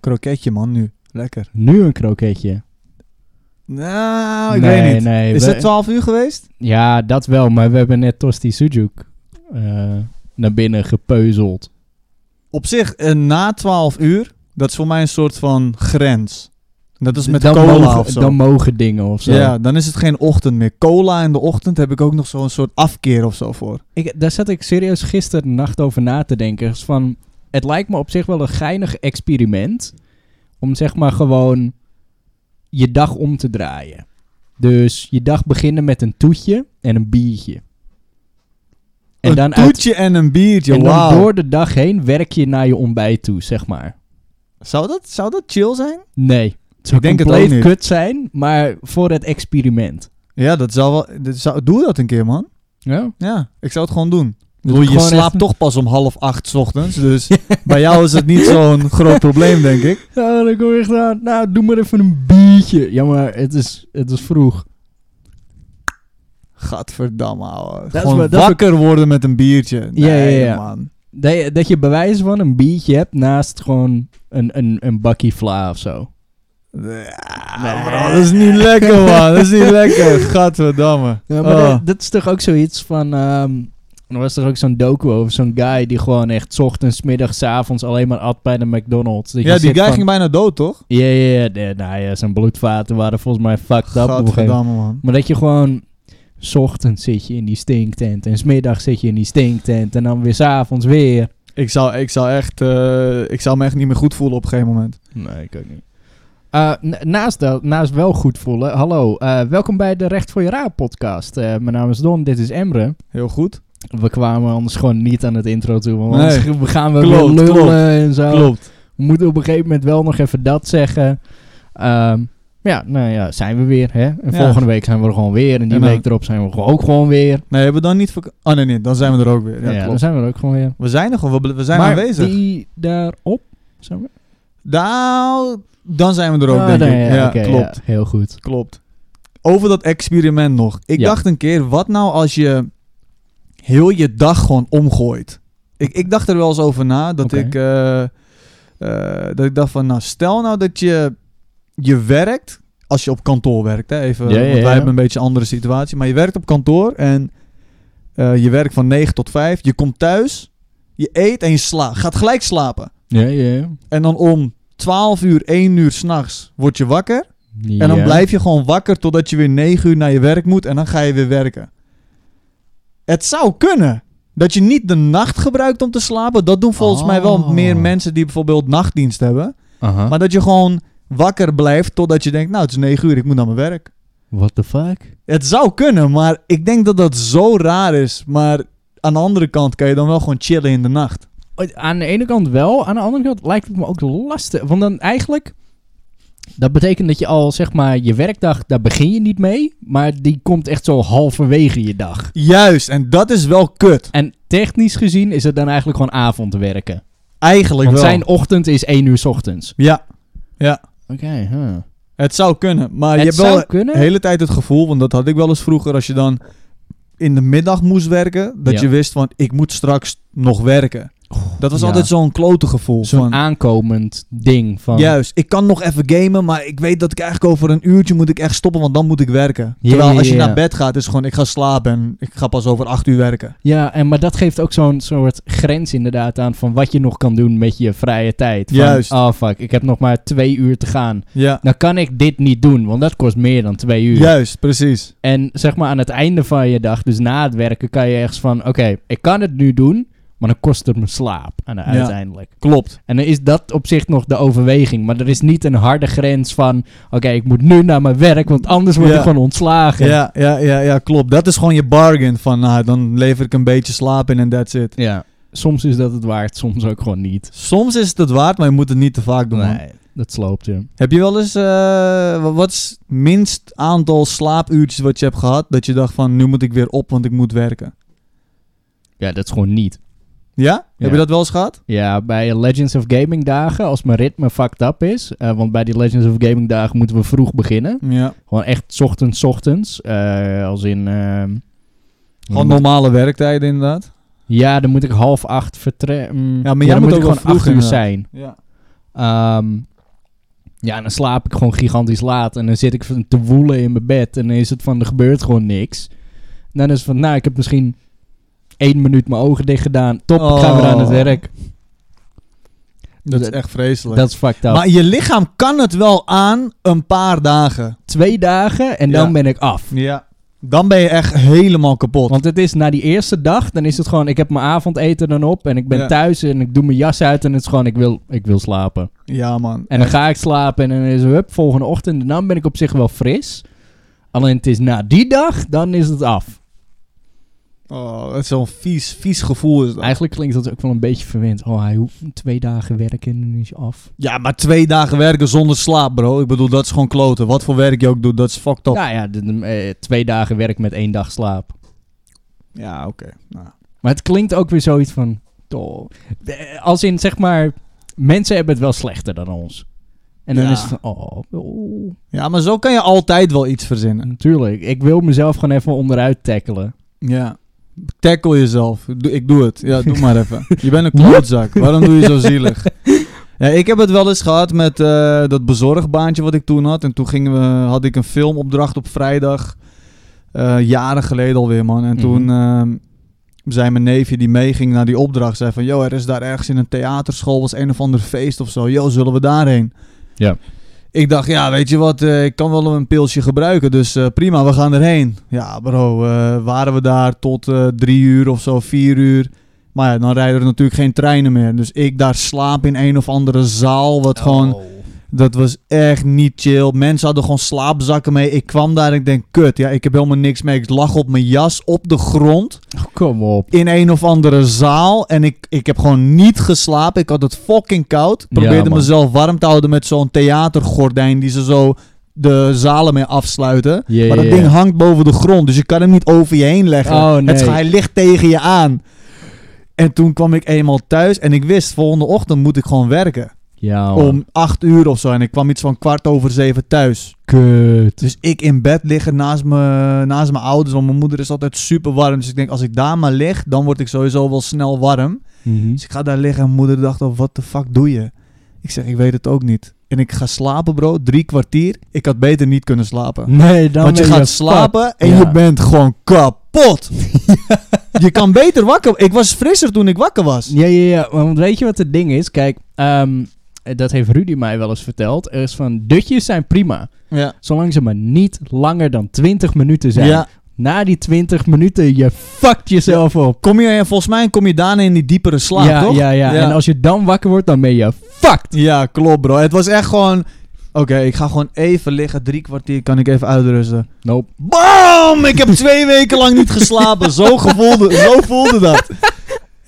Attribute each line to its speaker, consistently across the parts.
Speaker 1: Kroketje, man, nu. Lekker.
Speaker 2: Nu een kroketje.
Speaker 1: Nou, ik
Speaker 2: Nee,
Speaker 1: weet niet.
Speaker 2: nee,
Speaker 1: Is
Speaker 2: we-
Speaker 1: het 12 uur geweest?
Speaker 2: Ja, dat wel, maar we hebben net Tosti Sujuk eh, naar binnen gepeuzeld.
Speaker 1: Op zich, eh, na 12 uur, dat is voor mij een soort van grens. Dat is met
Speaker 2: dan,
Speaker 1: cola
Speaker 2: mogen,
Speaker 1: of zo.
Speaker 2: dan mogen dingen of zo.
Speaker 1: Ja, dan is het geen ochtend meer. Cola in de ochtend heb ik ook nog zo'n soort afkeer of zo voor.
Speaker 2: Ik, daar zat ik serieus gisteren nacht over na te denken. Is van, het lijkt me op zich wel een geinig experiment. Om zeg maar gewoon je dag om te draaien. Dus je dag beginnen met een toetje en een biertje. En
Speaker 1: een
Speaker 2: dan, uit,
Speaker 1: toetje en een biertje,
Speaker 2: en dan
Speaker 1: wauw.
Speaker 2: door de dag heen werk je naar je ontbijt toe, zeg maar.
Speaker 1: Zou, dat, zou dat chill zijn?
Speaker 2: Nee. Het zou
Speaker 1: Ik denk het
Speaker 2: compleet
Speaker 1: ook niet.
Speaker 2: kut zijn, maar voor het experiment.
Speaker 1: Ja, dat zou wel... Dat zou, doe dat een keer, man.
Speaker 2: Ja.
Speaker 1: Ja, ik zou het gewoon doen. Ik
Speaker 2: Dus
Speaker 1: bedoel, je
Speaker 2: gewoon
Speaker 1: slaapt
Speaker 2: echt-
Speaker 1: toch pas om half acht 's ochtends, dus bij jou is het niet zo'n groot probleem, denk ik.
Speaker 2: Ja, dan kom je echt aan. Nou, doe maar even een biertje. Ja, maar het is, het is vroeg.
Speaker 1: Gadverdamme, ouwe.
Speaker 2: is
Speaker 1: Gewoon
Speaker 2: wel- dat is
Speaker 1: wakker worden met een biertje. Nee,
Speaker 2: ja, ja.
Speaker 1: man.
Speaker 2: Dat je, dat je bewijs van een biertje hebt naast gewoon een, een, een bakkie vla of zo.
Speaker 1: Ja, bro, dat is niet lekker, man. Dat is niet lekker. Gadverdamme.
Speaker 2: Ja, maar
Speaker 1: Oh.
Speaker 2: dat, dat is toch ook zoiets van... ehm, er was toch ook zo'n docu over zo'n guy die gewoon echt 's ochtends, 's middags, 's avonds alleen maar at bij de McDonald's. Dat je
Speaker 1: ja, die
Speaker 2: zit
Speaker 1: guy
Speaker 2: van-
Speaker 1: ging bijna dood, toch?
Speaker 2: Ja, ja, ja. de- Nou ja, zijn bloedvaten waren volgens mij fucked up. op een gegeven moment.
Speaker 1: Gadverdamme, man.
Speaker 2: Maar dat je gewoon... 's ochtends zit je in die stinktent en 's middags zit je in die stinktent en dan weer 's avonds weer.
Speaker 1: Ik zou, ik, zou echt, eh, ik zou me echt niet meer goed voelen op een gegeven moment.
Speaker 2: Nee, ik ook niet. Eh, naast, dat, naast wel goed voelen, hallo. eh, welkom bij de Recht voor je Raad podcast. Eh, mijn naam is Don, dit is Emre.
Speaker 1: Heel goed.
Speaker 2: We kwamen anders gewoon niet aan het intro toe, want
Speaker 1: Nee.
Speaker 2: anders we gaan we
Speaker 1: Klopt,
Speaker 2: weer lullen
Speaker 1: klopt,
Speaker 2: en zo.
Speaker 1: Klopt.
Speaker 2: We moeten op een gegeven moment wel nog even dat zeggen. Ehm, ja, nou ja, zijn we weer. Hè? En
Speaker 1: Ja.
Speaker 2: volgende week zijn we er gewoon weer. En die
Speaker 1: En dan-
Speaker 2: week erop zijn we gewoon- ook gewoon weer.
Speaker 1: Nee, hebben we dan niet... vak- Oh, nee, nee. Dan zijn we er ook weer. Ja,
Speaker 2: Ja, dan
Speaker 1: klopt.
Speaker 2: zijn we er ook gewoon weer.
Speaker 1: We zijn er gewoon. We, we zijn
Speaker 2: maar
Speaker 1: aanwezig.
Speaker 2: die daarop? Zijn we?
Speaker 1: Nou, dan zijn we er ook,
Speaker 2: Ah,
Speaker 1: denk
Speaker 2: nee,
Speaker 1: ik. Ja,
Speaker 2: oké, ja,
Speaker 1: klopt.
Speaker 2: heel goed.
Speaker 1: Klopt. Over dat experiment nog. Ik
Speaker 2: Ja.
Speaker 1: dacht een keer, wat nou als je heel je dag gewoon omgooit? Ik, ik dacht er wel eens over na, dat
Speaker 2: Oké.
Speaker 1: ik... eh, eh, dat ik dacht van, nou, stel nou dat je, je werkt, als je op kantoor werkt, hè, even,
Speaker 2: Ja, ja,
Speaker 1: want wij
Speaker 2: ja.
Speaker 1: hebben een beetje een andere situatie, maar je werkt op kantoor en eh, je werkt van 9 tot 5, je komt thuis, je eet en je slaapt, gaat gelijk slapen.
Speaker 2: Ja, ja.
Speaker 1: En dan om 12 uur, 1 uur s'nachts word je wakker. En dan
Speaker 2: Ja.
Speaker 1: blijf je gewoon wakker totdat je weer 9 uur naar je werk moet en dan ga je weer werken. Het zou kunnen. Dat je niet de nacht gebruikt om te slapen, dat doen volgens mij wel
Speaker 2: Oh.
Speaker 1: meer mensen die bijvoorbeeld nachtdienst hebben.
Speaker 2: Aha.
Speaker 1: Maar dat je gewoon wakker blijft totdat je denkt, nou het is 9 uur, ik moet naar mijn werk.
Speaker 2: What the fuck?
Speaker 1: Het zou kunnen, maar ik denk dat dat zo raar is. Maar aan de andere kant kan je dan wel gewoon chillen in de nacht.
Speaker 2: Aan de ene kant wel, aan de andere kant lijkt het me ook lastig. Want dan eigenlijk, dat betekent dat je al zeg maar je werkdag, daar begin je niet mee, maar die komt echt zo halverwege je dag.
Speaker 1: Juist, en dat is wel kut.
Speaker 2: En technisch gezien is het dan eigenlijk gewoon avondwerken.
Speaker 1: Eigenlijk
Speaker 2: Want
Speaker 1: wel.
Speaker 2: zijn ochtend is 1 uur 's ochtends.
Speaker 1: Ja, ja.
Speaker 2: Oké, huh.
Speaker 1: Het zou kunnen, maar Ah, je
Speaker 2: Het
Speaker 1: hebt wel
Speaker 2: zou kunnen.
Speaker 1: de hele tijd het gevoel, want dat had ik wel eens vroeger, als je dan in de middag moest werken, dat
Speaker 2: Ja.
Speaker 1: je wist van ik moet straks nog werken. Dat was
Speaker 2: ja.
Speaker 1: altijd zo'n klote gevoel.
Speaker 2: Zo'n
Speaker 1: van,
Speaker 2: aankomend ding van...
Speaker 1: Juist, ik kan nog even gamen, maar ik weet dat ik eigenlijk over een uurtje moet ik echt stoppen, want dan moet ik werken.
Speaker 2: Ja,
Speaker 1: Terwijl
Speaker 2: ja,
Speaker 1: als je
Speaker 2: ja.
Speaker 1: naar bed gaat, is het gewoon ik ga slapen en ik ga pas over acht uur werken.
Speaker 2: Ja, en, maar dat geeft ook zo'n soort grens inderdaad aan van wat je nog kan doen met je vrije tijd. Van,
Speaker 1: Juist.
Speaker 2: Oh fuck, ik heb nog maar twee uur te gaan.
Speaker 1: Ja,
Speaker 2: Dan kan ik dit niet doen, want dat kost meer dan twee uur.
Speaker 1: juist, precies.
Speaker 2: En zeg maar aan het einde van je dag, dus na het werken, kan je ergens van... Oké, ik kan het nu doen, maar dan kost het me slaap aan uiteindelijk.
Speaker 1: Klopt.
Speaker 2: En dan is dat op zich nog de overweging. Maar er is niet een harde grens van... Oké, ik moet nu naar mijn werk, want anders word
Speaker 1: Ja.
Speaker 2: ik gewoon ontslagen.
Speaker 1: Ja, ja, ja, ja, klopt. Dat is gewoon je bargain van nou, dan lever ik een beetje slaap in en that's it.
Speaker 2: Ja. Soms is dat het waard, soms ook gewoon niet.
Speaker 1: Soms is het het waard, maar je moet het niet te vaak doen. man.
Speaker 2: Nee, dat sloopt je.
Speaker 1: Heb je wel eens, eh, wa- wat is het minst aantal slaapuurtjes wat je hebt gehad, dat je dacht van, nu moet ik weer op, want ik moet werken?
Speaker 2: Ja, dat is gewoon niet.
Speaker 1: Ja? Heb
Speaker 2: Ja.
Speaker 1: je dat wel eens gehad?
Speaker 2: Ja, bij Legends of Gaming dagen, als mijn ritme fucked up is. eh, want bij die Legends of Gaming dagen moeten we vroeg beginnen.
Speaker 1: Ja.
Speaker 2: Gewoon echt 's ochtends, 's ochtends. eh, als in... ehm,
Speaker 1: Gewoon
Speaker 2: dan moet-
Speaker 1: normale werktijden inderdaad.
Speaker 2: ja, dan moet ik half acht vertrekken. Ja,
Speaker 1: maar jij
Speaker 2: dan
Speaker 1: moet
Speaker 2: moet ik
Speaker 1: ook wel
Speaker 2: gewoon
Speaker 1: vroeg
Speaker 2: acht uur
Speaker 1: inderdaad.
Speaker 2: zijn.
Speaker 1: Ja.
Speaker 2: Ehm, Ja, dan slaap ik gewoon gigantisch laat. En dan zit ik van te woelen in mijn bed. En dan is het van, er gebeurt gewoon niks. En dan is het van, nou, ik heb misschien één minuut mijn ogen dicht gedaan. Top, ik ga weer aan het
Speaker 1: Oh.
Speaker 2: werk.
Speaker 1: Dat is
Speaker 2: Dat-
Speaker 1: echt vreselijk.
Speaker 2: Dat is fucked up.
Speaker 1: Maar je lichaam kan het wel aan een paar dagen.
Speaker 2: Twee dagen en dan
Speaker 1: Ja.
Speaker 2: ben ik af.
Speaker 1: Ja. Dan ben je echt helemaal kapot.
Speaker 2: Want het is na die eerste dag, dan is het gewoon, ik heb mijn avondeten dan op. En ik ben
Speaker 1: Ja.
Speaker 2: thuis en ik doe mijn jas uit. En het is gewoon, ik wil, ik wil slapen.
Speaker 1: ja, man.
Speaker 2: En dan ga ik slapen en dan is het hup, volgende ochtend. En dan ben ik op zich wel fris. Alleen het is na die dag, dan is het af.
Speaker 1: Oh, dat is zo'n vies, vies gevoel is dat.
Speaker 2: Eigenlijk klinkt dat ook wel een beetje verwend. Oh, hij hoeft twee dagen werken en dan is hij af.
Speaker 1: Ja, maar twee dagen werken zonder slaap, bro. Ik bedoel, dat is gewoon kloten. Wat voor werk je ook doet, dat is fucked up. Ja,
Speaker 2: Nou ja, de- de- eh, twee dagen werk met één dag slaap.
Speaker 1: oké. Nou.
Speaker 2: Maar het klinkt ook weer zoiets van... Oh, eh, als in, zeg maar, mensen hebben het wel slechter dan ons. En dan
Speaker 1: Ja.
Speaker 2: is het van, oh, oh,
Speaker 1: Ja, maar zo kan je altijd wel iets verzinnen.
Speaker 2: natuurlijk. Ik wil mezelf gewoon even onderuit tackelen.
Speaker 1: Ja. Tackle jezelf. Doe- Ik doe het. Ja, doe maar even. Je bent een klootzak. Waarom doe je zo zielig? Ja, ik heb het wel eens gehad met eh, dat bezorgbaantje wat ik toen had. En toen gingen we, had ik een filmopdracht op vrijdag. Eh, jaren geleden alweer, man. En toen ehm, zei mijn neefje die meeging naar die opdracht... zei van, joh, er is daar ergens in een theaterschool... was een of ander feest of zo. Joh, zullen we daarheen?
Speaker 2: Ja.
Speaker 1: Ik dacht, ja, weet je wat, eh, ik kan wel een pilsje gebruiken, dus eh, prima, we gaan erheen. Ja, bro, eh, waren we daar tot eh, drie uur of zo, vier uur. Maar ja, dan rijden er natuurlijk geen treinen meer. Dus ik daar slaap in een of andere zaal, wat gewoon,
Speaker 2: Oh,
Speaker 1: dat was echt niet chill. Mensen hadden gewoon slaapzakken mee. Ik kwam daar en ik denk, kut, ja, ik heb helemaal niks mee. Ik lag op mijn jas, op de grond
Speaker 2: Kom op.
Speaker 1: in een of andere zaal. En ik, ik heb gewoon niet geslapen. Ik had het fucking koud. Ik
Speaker 2: Ja,
Speaker 1: probeerde
Speaker 2: man.
Speaker 1: mezelf warm te houden met zo'n theatergordijn die ze zo de zalen mee afsluiten.
Speaker 2: Ja,
Speaker 1: maar dat
Speaker 2: ja, ja.
Speaker 1: ding hangt boven de grond, dus je kan hem niet over je heen leggen.
Speaker 2: Oh, nee.
Speaker 1: Het is- hij ligt tegen je aan. En toen kwam ik eenmaal thuis en ik wist, volgende ochtend moet ik gewoon werken.
Speaker 2: Ja,
Speaker 1: Om acht uur of zo. En ik kwam iets van kwart over zeven thuis.
Speaker 2: Kut.
Speaker 1: Dus ik in bed liggen naast, me, naast mijn ouders. Want mijn moeder is altijd super warm. Dus ik denk, als ik daar maar lig, dan word ik sowieso wel snel warm.
Speaker 2: Mhm.
Speaker 1: Dus ik ga daar liggen en mijn moeder dacht al, wat de fuck doe je? Ik zeg, ik weet het ook niet. En ik ga slapen, bro. Drie kwartier. Ik had beter niet kunnen slapen.
Speaker 2: Nou, Nee, dan
Speaker 1: Want je
Speaker 2: ben
Speaker 1: gaat slapen en
Speaker 2: Ja.
Speaker 1: je bent gewoon kapot. je kan beter wakker. Ik was frisser toen ik wakker was.
Speaker 2: Ja, ja, ja. Want weet je wat het ding is? Kijk, ehm, dat heeft Rudy mij wel eens verteld. Er is van, dutjes zijn prima.
Speaker 1: Ja.
Speaker 2: Zolang ze maar niet langer dan 20 minuten zijn.
Speaker 1: ja.
Speaker 2: Na die 20 minuten, je fuckt jezelf op.
Speaker 1: Kom je, en volgens mij kom je daarna in die diepere slaap,
Speaker 2: ja,
Speaker 1: toch?
Speaker 2: ja, ja,
Speaker 1: Ja.
Speaker 2: En als je dan wakker wordt, dan ben je fucked.
Speaker 1: Ja, klopt bro. Het was echt gewoon... Oké, ik ga gewoon even liggen. Drie kwartier kan ik even uitrusten.
Speaker 2: Nope.
Speaker 1: Bam! Ik heb twee weken lang niet geslapen. Zo, gevoelde, zo voelde dat.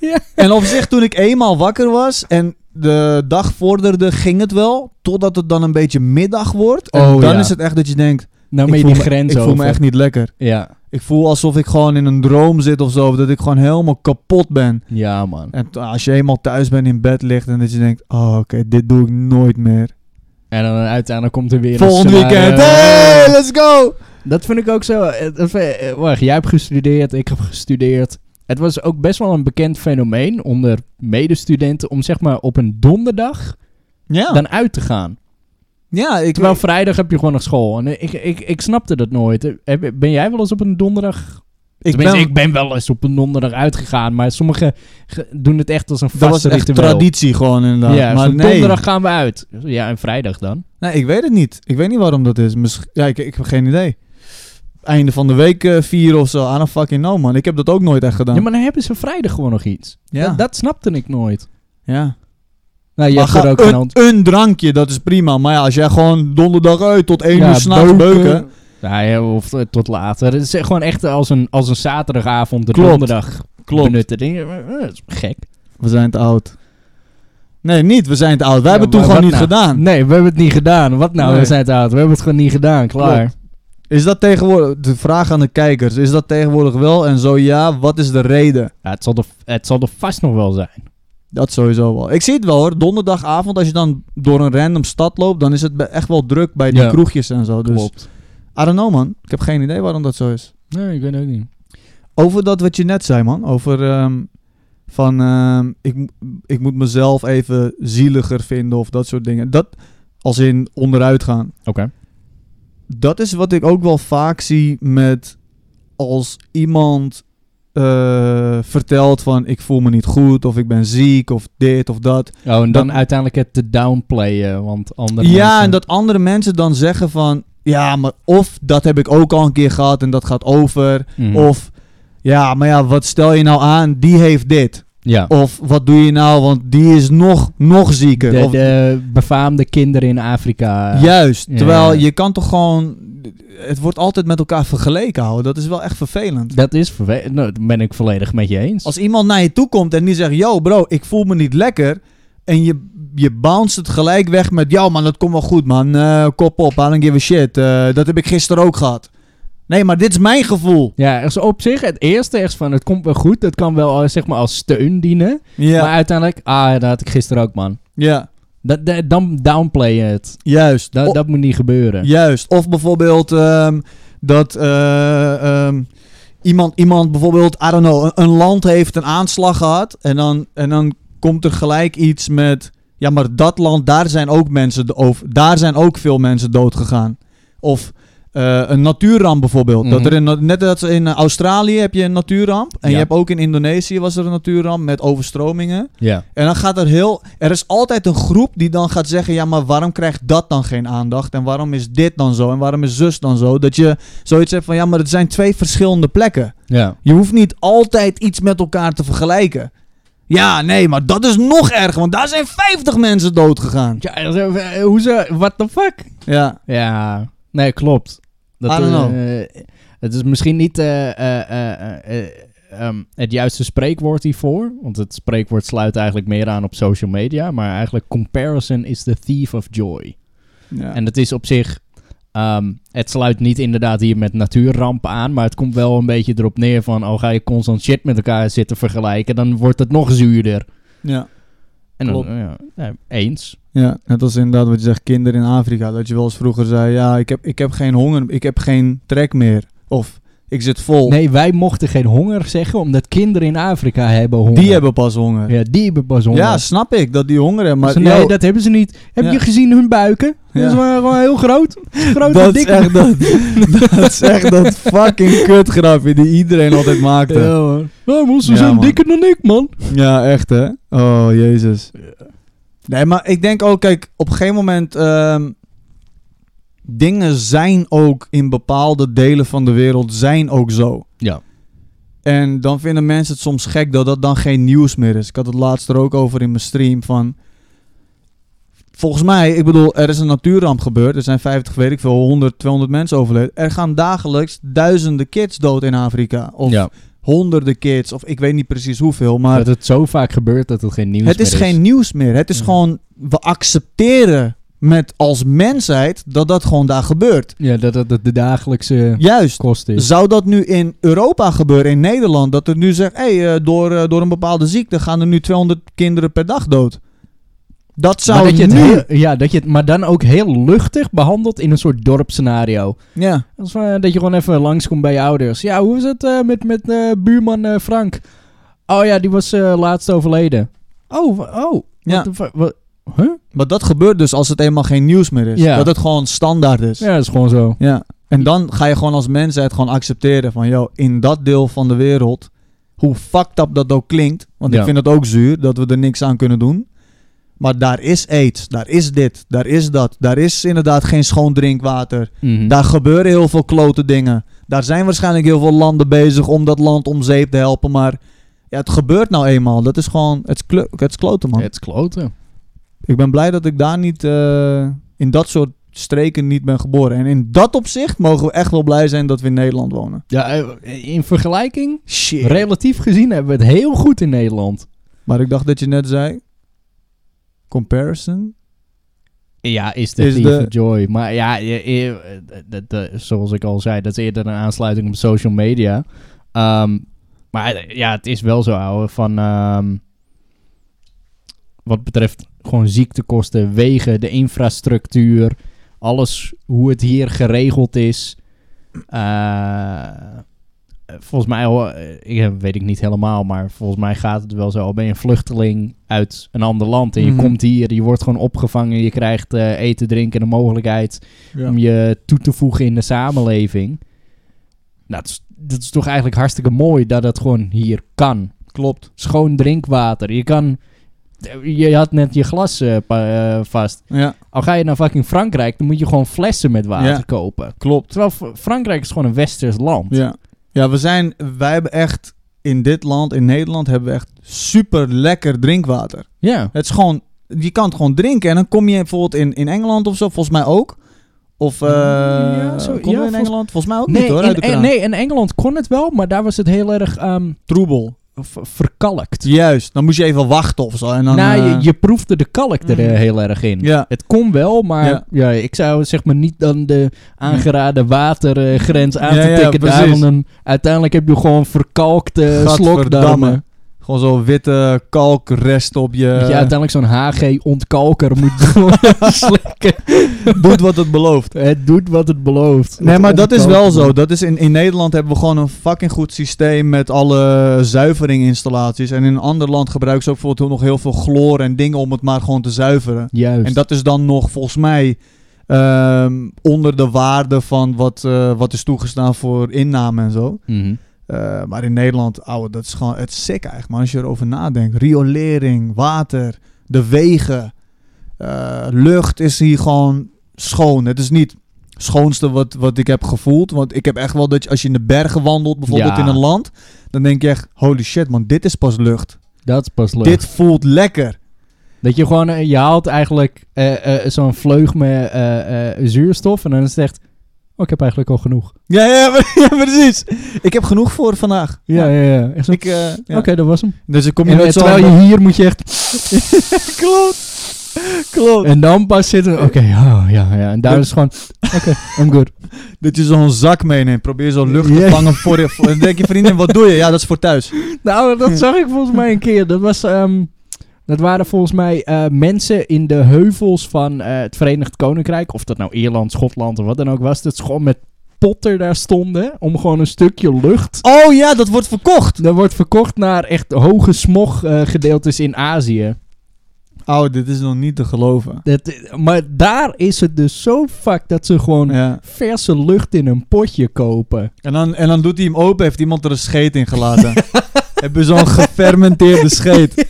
Speaker 2: Ja.
Speaker 1: En op zich, toen ik eenmaal wakker was en de dag vorderde, ging het wel. Totdat het dan een beetje middag wordt. En
Speaker 2: Oh,
Speaker 1: dan
Speaker 2: ja.
Speaker 1: is het echt dat je denkt...
Speaker 2: Nou ben
Speaker 1: ik
Speaker 2: je
Speaker 1: voel me-
Speaker 2: die grens
Speaker 1: Ik voel
Speaker 2: over.
Speaker 1: me echt niet lekker.
Speaker 2: Ja.
Speaker 1: Ik voel alsof ik gewoon in een droom zit of zo. of Dat ik gewoon helemaal kapot ben.
Speaker 2: Ja, man.
Speaker 1: En t- als je eenmaal thuis bent in bed ligt en dat je denkt... Oh, oké, dit doe ik nooit meer.
Speaker 2: En dan uiteindelijk komt er weer een
Speaker 1: Volgend
Speaker 2: zware-
Speaker 1: weekend. Hey, let's go!
Speaker 2: Dat vind ik ook zo. eh, dat vind- eh, Wacht, jij hebt gestudeerd, ik heb gestudeerd. Het was ook best wel een bekend fenomeen onder medestudenten om zeg maar op een donderdag
Speaker 1: Ja,
Speaker 2: dan uit te gaan.
Speaker 1: ja ik
Speaker 2: Terwijl vrijdag heb je gewoon nog school. En eh, ik, ik, ik snapte dat nooit. Eh, heb- Ben jij wel eens op een donderdag?
Speaker 1: ik
Speaker 2: Tenminste,
Speaker 1: ben,
Speaker 2: ik ben wel eens op een donderdag uitgegaan. Maar sommigen ge- doen het echt als een vaste
Speaker 1: dat was echt
Speaker 2: ritueel.
Speaker 1: traditie gewoon inderdaad.
Speaker 2: Ja,
Speaker 1: maar
Speaker 2: van
Speaker 1: nee.
Speaker 2: donderdag gaan we uit. Ja, en vrijdag dan.
Speaker 1: nee, ik weet het niet. Ik weet niet waarom dat is. Misschien, ja, ik, ik heb geen idee. Einde van de week eh, vieren of zo. I don't fucking know, man. Ik heb dat ook nooit echt gedaan.
Speaker 2: Ja, maar dan hebben ze vrijdag gewoon nog iets.
Speaker 1: Ja.
Speaker 2: Dat, dat snapte ik nooit.
Speaker 1: Ja.
Speaker 2: Nou, je
Speaker 1: Maar
Speaker 2: hebt er
Speaker 1: ga
Speaker 2: ook geen
Speaker 1: een,
Speaker 2: ant-
Speaker 1: een drankje, dat is prima. Maar ja, als jij gewoon donderdag uit tot één
Speaker 2: Ja,
Speaker 1: uur s'nachts
Speaker 2: beuken.
Speaker 1: beuken...
Speaker 2: Ja, ja, of eh, tot later. Het is echt gewoon echt als een, als een zaterdagavond de
Speaker 1: Klopt.
Speaker 2: donderdag
Speaker 1: Klopt.
Speaker 2: benutten. Denk je, eh, dat is gek.
Speaker 1: We zijn te oud. Nee, niet. We zijn te oud. Wij
Speaker 2: Ja,
Speaker 1: hebben het toen
Speaker 2: maar
Speaker 1: gewoon niet
Speaker 2: wat nou?
Speaker 1: gedaan.
Speaker 2: Nee, we hebben het niet gedaan. Wat nou?
Speaker 1: Nee.
Speaker 2: We zijn het oud. We hebben het gewoon niet gedaan. Klaar.
Speaker 1: Is dat tegenwoordig... De vraag aan de kijkers. Is dat tegenwoordig wel? En zo ja, wat is de reden?
Speaker 2: Ja, het, zal er, het zal er vast nog wel zijn.
Speaker 1: Dat sowieso wel. Ik zie het wel hoor. Donderdagavond, als je dan door een random stad loopt, dan is het be- echt wel druk bij die
Speaker 2: Ja.
Speaker 1: kroegjes en zo. Dus,
Speaker 2: Klopt.
Speaker 1: I don't know man. Ik heb geen idee waarom dat zo is.
Speaker 2: Nee, ik weet het ook niet.
Speaker 1: Over dat wat je net zei man. Over ehm, van ehm, ik, mo- ik moet mezelf even zieliger vinden of dat soort dingen. Dat Als in onderuit gaan.
Speaker 2: Oké.
Speaker 1: Dat is wat ik ook wel vaak zie met als iemand eh, vertelt van ik voel me niet goed of ik ben ziek of dit of dat.
Speaker 2: Oh, en dan
Speaker 1: Dat-
Speaker 2: uiteindelijk het te downplayen, want anders...
Speaker 1: ja, en dat andere mensen dan zeggen van ja, maar of dat heb ik ook al een keer gehad en dat gaat over.
Speaker 2: Mhm. Hmm.
Speaker 1: Of ja, maar ja, wat stel je nou aan? Die heeft dit.
Speaker 2: Ja.
Speaker 1: Of wat doe je nou? Want die is nog, nog
Speaker 2: De,
Speaker 1: zieker. of,
Speaker 2: de befaamde kinderen in Afrika.
Speaker 1: Juist,
Speaker 2: ja.
Speaker 1: terwijl je kan toch gewoon... Het wordt altijd met elkaar vergeleken houden. Dat is wel echt vervelend.
Speaker 2: Dat is vervelend. Nou, dat ben ik volledig met je eens.
Speaker 1: Als iemand naar je toe komt en die zegt... Yo bro, ik voel me niet lekker. En je, je bounce het gelijk weg met... Yo man, dat komt wel goed man. Eh, kop op, I don't give a shit. Eh, dat heb ik gisteren ook gehad. Nee, maar dit is mijn gevoel.
Speaker 2: Ja, dus op zich het eerste is van het komt wel goed. Dat kan wel eh, zeg maar als steun dienen.
Speaker 1: Ja,
Speaker 2: Maar uiteindelijk, ah, dat had ik gisteren ook, man.
Speaker 1: ja
Speaker 2: Dat, dat- dan downplay je het.
Speaker 1: juist.
Speaker 2: Dat,
Speaker 1: O-
Speaker 2: dat moet niet gebeuren.
Speaker 1: Juist. Of bijvoorbeeld ehm, dat eh, ehm, iemand, iemand bijvoorbeeld, I don't know, een, een land heeft een aanslag gehad. En dan, en dan komt er gelijk iets met. Ja, maar dat land, daar zijn ook mensen do- over. Daar zijn ook veel mensen dood gegaan. Of eh, een natuurramp bijvoorbeeld.
Speaker 2: Mhm.
Speaker 1: dat er in, na- net als in eh, Australië heb je een natuurramp. En
Speaker 2: Ja.
Speaker 1: je hebt ook in Indonesië was er een natuurramp met overstromingen.
Speaker 2: Ja.
Speaker 1: En dan gaat er heel. Er is altijd een groep die dan gaat zeggen: ja, maar waarom krijgt dat dan geen aandacht? En waarom is dit dan zo? En waarom is zus dan zo? Dat je zoiets hebt van: ja, maar het zijn twee verschillende plekken.
Speaker 2: Ja.
Speaker 1: Je hoeft niet altijd iets met elkaar te vergelijken. Ja, nee, maar dat is nog erger, want daar zijn 50 mensen dood gegaan.
Speaker 2: ja eh, eh, hoezo? What the fuck?
Speaker 1: Ja,
Speaker 2: Ja. Nee, klopt. Dat,
Speaker 1: I don't
Speaker 2: eh,
Speaker 1: know.
Speaker 2: eh, het is misschien niet eh, eh, eh, eh, ehm, het juiste spreekwoord hiervoor. Want het spreekwoord sluit eigenlijk meer aan op social media. Maar eigenlijk comparison is the thief of joy.
Speaker 1: ja.
Speaker 2: En dat is op zich. ehm, het sluit niet inderdaad hier met natuurrampen aan. Maar het komt wel een beetje erop neer van. Oh, ga je constant shit met elkaar zitten vergelijken. Dan wordt het nog zuurder.
Speaker 1: ja.
Speaker 2: En dan,
Speaker 1: Klopt.
Speaker 2: ja, ja, eens.
Speaker 1: Ja, net als inderdaad wat je zegt, kinderen in Afrika. Dat je wel eens vroeger zei: ja, ik heb, ik heb geen honger, ik heb geen trek meer. Of ik zit vol.
Speaker 2: Nee, wij mochten geen honger zeggen. Omdat kinderen in Afrika hebben honger.
Speaker 1: Die hebben pas honger.
Speaker 2: Ja, die hebben pas honger.
Speaker 1: Ja, snap ik Dus dat die honger hebben. Maar
Speaker 2: maar, nee,
Speaker 1: yo,
Speaker 2: dat hebben ze niet. Heb
Speaker 1: Ja.
Speaker 2: je gezien hun buiken?
Speaker 1: Ja.
Speaker 2: Dat is maar gewoon heel groot. Groot en
Speaker 1: oh, dat is
Speaker 2: dik.
Speaker 1: echt dat, dat is echt dat fucking kutgrapje die iedereen altijd maakte.
Speaker 2: Ja, hoor. Ja, maar ze
Speaker 1: Ja,
Speaker 2: zijn
Speaker 1: man.
Speaker 2: dikker dan ik, man.
Speaker 1: Ja, echt hè? Oh, jezus. Nee, maar ik denk ook, kijk, op een gegeven moment... ehm, dingen zijn ook in bepaalde delen van de wereld zijn ook zo.
Speaker 2: Ja.
Speaker 1: En dan vinden mensen het soms gek dat dat dan geen nieuws meer is. Ik had het laatst er ook over in mijn stream van... Volgens mij, ik bedoel, er is een natuurramp gebeurd. Er zijn 50, weet ik veel, 100, 200 mensen overleden. Er gaan dagelijks duizenden kids dood in Afrika. Of
Speaker 2: ja.
Speaker 1: honderden kids, of ik weet niet precies hoeveel. Maar
Speaker 2: dat het zo vaak gebeurt dat het geen nieuws
Speaker 1: het is
Speaker 2: meer
Speaker 1: geen nieuws meer. Het is
Speaker 2: Ja.
Speaker 1: gewoon, we accepteren met als mensheid dat dat gewoon daar gebeurt.
Speaker 2: Ja, dat het de dagelijkse
Speaker 1: Juist.
Speaker 2: kost is.
Speaker 1: Zou dat nu in Europa gebeuren, in Nederland, dat er nu zegt, hé, hey, eh, door, eh, door een bepaalde ziekte gaan er nu 200 kinderen per dag dood? Dat zou
Speaker 2: maar dat je het
Speaker 1: nu...
Speaker 2: heel- ja, dat je het maar dan ook heel luchtig behandelt in een soort dorpscenario.
Speaker 1: Ja,
Speaker 2: Dat, is, eh, dat je gewoon even langskomt bij je ouders. Ja, hoe is het eh, met, met eh, buurman eh, Frank? Oh ja, die was eh, laatst overleden. Oh, wa- oh.
Speaker 1: ja.
Speaker 2: What the fu- wa- huh?
Speaker 1: Maar dat gebeurt dus als het eenmaal geen nieuws meer is.
Speaker 2: Ja.
Speaker 1: Dat het gewoon standaard is.
Speaker 2: Ja, dat is gewoon zo.
Speaker 1: Ja. En dan ga je gewoon als mensheid gewoon accepteren van, joh, in dat deel van de wereld, hoe fucked up dat ook klinkt, want
Speaker 2: Ja.
Speaker 1: ik vind het ook zuur dat we er niks aan kunnen doen. Maar daar is aids, daar is dit, daar is dat, daar is inderdaad geen schoon drinkwater.
Speaker 2: Mhm.
Speaker 1: Daar gebeuren heel veel klote dingen. Daar zijn waarschijnlijk heel veel landen bezig om dat land om zeep te helpen, maar ja, het gebeurt nou eenmaal. Dat is gewoon, het is, kle- het is kloten man.
Speaker 2: Het is kloten.
Speaker 1: Ik ben blij dat ik daar niet eh, in dat soort streken niet ben geboren. En in dat opzicht mogen we echt wel blij zijn dat we in Nederland wonen.
Speaker 2: Ja, eh, in vergelijking,
Speaker 1: Shit.
Speaker 2: relatief gezien hebben we het heel goed in Nederland.
Speaker 1: maar ik dacht dat je net zei. Comparison?
Speaker 2: Ja, is de
Speaker 1: Is
Speaker 2: Thief
Speaker 1: de-
Speaker 2: of Joy. Maar ja, je- je- eh, dat- dat- zoals ik al zei, dat is eerder een aansluiting op social media. Ehm, maar eh, ja, het is wel zo, ouwe, van... ehm, wat betreft gewoon ziektekosten, wegen, de infrastructuur... alles hoe het hier geregeld is... eh, eh, eh, volgens mij, ho- eh, ik eh, weet ik niet helemaal, maar volgens mij gaat het wel zo. Ben je een vluchteling uit een ander land en je
Speaker 1: Mhm.
Speaker 2: komt hier, je wordt gewoon opgevangen, je krijgt eh, eten, drinken en de mogelijkheid
Speaker 1: Ja.
Speaker 2: om je toe te voegen in de samenleving. Nou, dat is, dat is toch eigenlijk hartstikke mooi dat het gewoon hier kan.
Speaker 1: Klopt.
Speaker 2: Schoon drinkwater. Je kan. Je had net je glas eh, pa- eh, vast.
Speaker 1: Ja,
Speaker 2: Al ga je naar fucking Frankrijk, dan moet je gewoon flessen met water
Speaker 1: Ja.
Speaker 2: kopen.
Speaker 1: klopt.
Speaker 2: Terwijl F- Frankrijk is gewoon een westers land.
Speaker 1: Ja, ja we zijn, wij hebben echt in dit land, in Nederland, hebben we echt super lekker drinkwater.
Speaker 2: Ja.
Speaker 1: Het is gewoon, je kan het gewoon drinken. En dan kom je bijvoorbeeld in, in Engeland of zo, volgens mij ook. Of eh
Speaker 2: Ja, zo-
Speaker 1: kom
Speaker 2: ja,
Speaker 1: je in
Speaker 2: volgens-
Speaker 1: Engeland? Volgens mij ook
Speaker 2: Nee,
Speaker 1: niet hoor,
Speaker 2: in,
Speaker 1: uit de
Speaker 2: en-
Speaker 1: kraan.
Speaker 2: nee, in Engeland kon het wel, maar daar was het heel erg ehm,
Speaker 1: Troebel.
Speaker 2: v- verkalkt.
Speaker 1: Juist, dan moest je even wachten of zo. En dan,
Speaker 2: nou, je,
Speaker 1: eh,
Speaker 2: je proefde de kalk er eh,
Speaker 1: Mm.
Speaker 2: heel erg in.
Speaker 1: Ja,
Speaker 2: Het kon wel, maar ja.
Speaker 1: Ja.
Speaker 2: ik zou zeg maar niet dan de aangeraden watergrens aan
Speaker 1: Ja,
Speaker 2: te
Speaker 1: ja,
Speaker 2: tikken. daar, want
Speaker 1: precies.
Speaker 2: dan, uiteindelijk heb je gewoon verkalkte slokdarmen.
Speaker 1: Gadverdamme. gewoon zo'n witte kalkrest op je.
Speaker 2: Dat je uiteindelijk zo'n HG-ontkalker moet gewoon slikken.
Speaker 1: doet wat het belooft.
Speaker 2: Het doet wat het belooft.
Speaker 1: Nee,
Speaker 2: Het
Speaker 1: maar dat is wel
Speaker 2: ontkalken.
Speaker 1: zo. Dat is in, in Nederland hebben we gewoon een fucking goed systeem met alle zuiveringinstallaties. En in een ander land gebruiken ze ook bijvoorbeeld nog heel veel chloor en dingen om het maar gewoon te zuiveren.
Speaker 2: Juist.
Speaker 1: En dat is dan nog volgens mij ehm, onder de waarde van wat, eh, wat is toegestaan voor inname en zo.
Speaker 2: Mhm.
Speaker 1: Eh, maar in Nederland, ouwe, dat is gewoon het is sick eigenlijk, man. Als je erover nadenkt. Riolering, water, de wegen, eh, lucht is hier gewoon schoon. Het is niet het schoonste wat, wat ik heb gevoeld. Want ik heb echt wel dat je, als je in de bergen wandelt, bijvoorbeeld
Speaker 2: Ja.
Speaker 1: in een land, dan denk je echt, holy shit man, dit is pas lucht.
Speaker 2: Dat is pas leuk.
Speaker 1: Dit voelt lekker.
Speaker 2: Dat je gewoon, eh, je haalt eigenlijk eh, eh, zo'n vleug met eh, eh, zuurstof en dan is het echt, oh, ik heb eigenlijk al genoeg.
Speaker 1: Ja, ja, maar- ja, precies. Ik heb genoeg voor vandaag.
Speaker 2: Ja, ja, ja. Echt zo,
Speaker 1: Ik, eh,
Speaker 2: Oké,
Speaker 1: ja.
Speaker 2: dat was hem.
Speaker 1: Dus dan kom je
Speaker 2: En,
Speaker 1: met
Speaker 2: eh, terwijl
Speaker 1: zo'n...
Speaker 2: je hier moet je echt,
Speaker 1: Klopt. Klopt.
Speaker 2: en dan pas zitten, oké, oh, ja, ja. En daar
Speaker 1: Dat-
Speaker 2: is het gewoon, oké, I'm good.
Speaker 1: Dat je zo'n zak meeneemt. Probeer zo'n lucht te
Speaker 2: Ja.
Speaker 1: vangen voor je. voor- Dan denk je, vriendin, wat doe je? Ja, dat is voor thuis.
Speaker 2: Nou, dat zag ik volgens mij een keer. Dat, was, ehm, dat waren volgens mij eh, mensen in de heuvels van eh, het Verenigd Koninkrijk. Of dat nou Ierland, Schotland of wat dan ook was. Dat ze gewoon met potter daar stonden. Om gewoon een stukje lucht.
Speaker 1: Oh ja, dat wordt verkocht.
Speaker 2: Dat wordt verkocht naar echt hoge smog eh, gedeeltes in Azië.
Speaker 1: Oh, dit is nog niet te geloven.
Speaker 2: Dat, maar daar is het dus zo fucked dat ze gewoon
Speaker 1: Ja.
Speaker 2: verse lucht in een potje kopen.
Speaker 1: En, dan, en dan doet hij hem open. Heeft iemand er een scheet in gelaten. Heb je zo'n gefermenteerde scheet.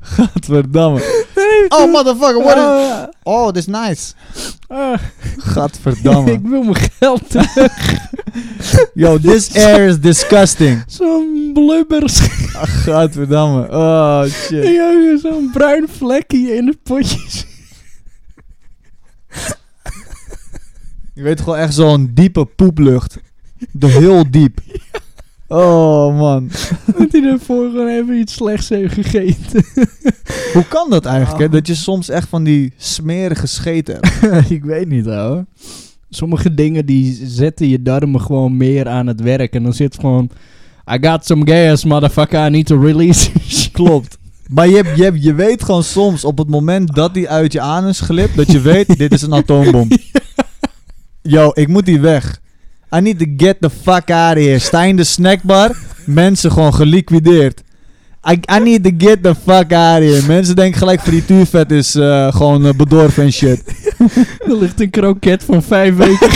Speaker 1: Gadverdamme. Oh, motherfucker. What is...
Speaker 2: Ah,
Speaker 1: Oh, this is nice.
Speaker 2: ah, ik
Speaker 1: Gadverdamme.
Speaker 2: wil mijn geld terug.
Speaker 1: Yo, this air is disgusting.
Speaker 2: Zo'n blubber
Speaker 1: Ach, Gadverdamme. Oh, shit.
Speaker 2: Ja, ja, zo'n bruin vlekje in het potje.
Speaker 1: Je weet gewoon echt zo'n diepe poeplucht. De heel diep. Oh, man.
Speaker 2: Dat hij daarvoor gewoon even iets slechts heeft gegeten.
Speaker 1: Hoe kan dat eigenlijk, hè?
Speaker 2: Ah.
Speaker 1: Dat je soms echt van die smerige scheten hebt.
Speaker 2: ik weet niet, hoor. Sommige dingen die zetten je darmen gewoon meer aan het werk. En dan zit gewoon... I got some gas, motherfucker. I need to release.
Speaker 1: Klopt. Maar je, hebt- je, hebt- je weet gewoon soms, op het moment dat die uit je anus glipt, dat je weet, dit is een atoombom. Yo, ik moet die weg. I need to get the fuck out of here. Sta in de snackbar, mensen gewoon geliquideerd. I, I need to get the fuck out of here. Mensen denken gelijk frituurvet is eh, gewoon eh, bedorven en shit.
Speaker 2: er ligt een kroket van vijf weken.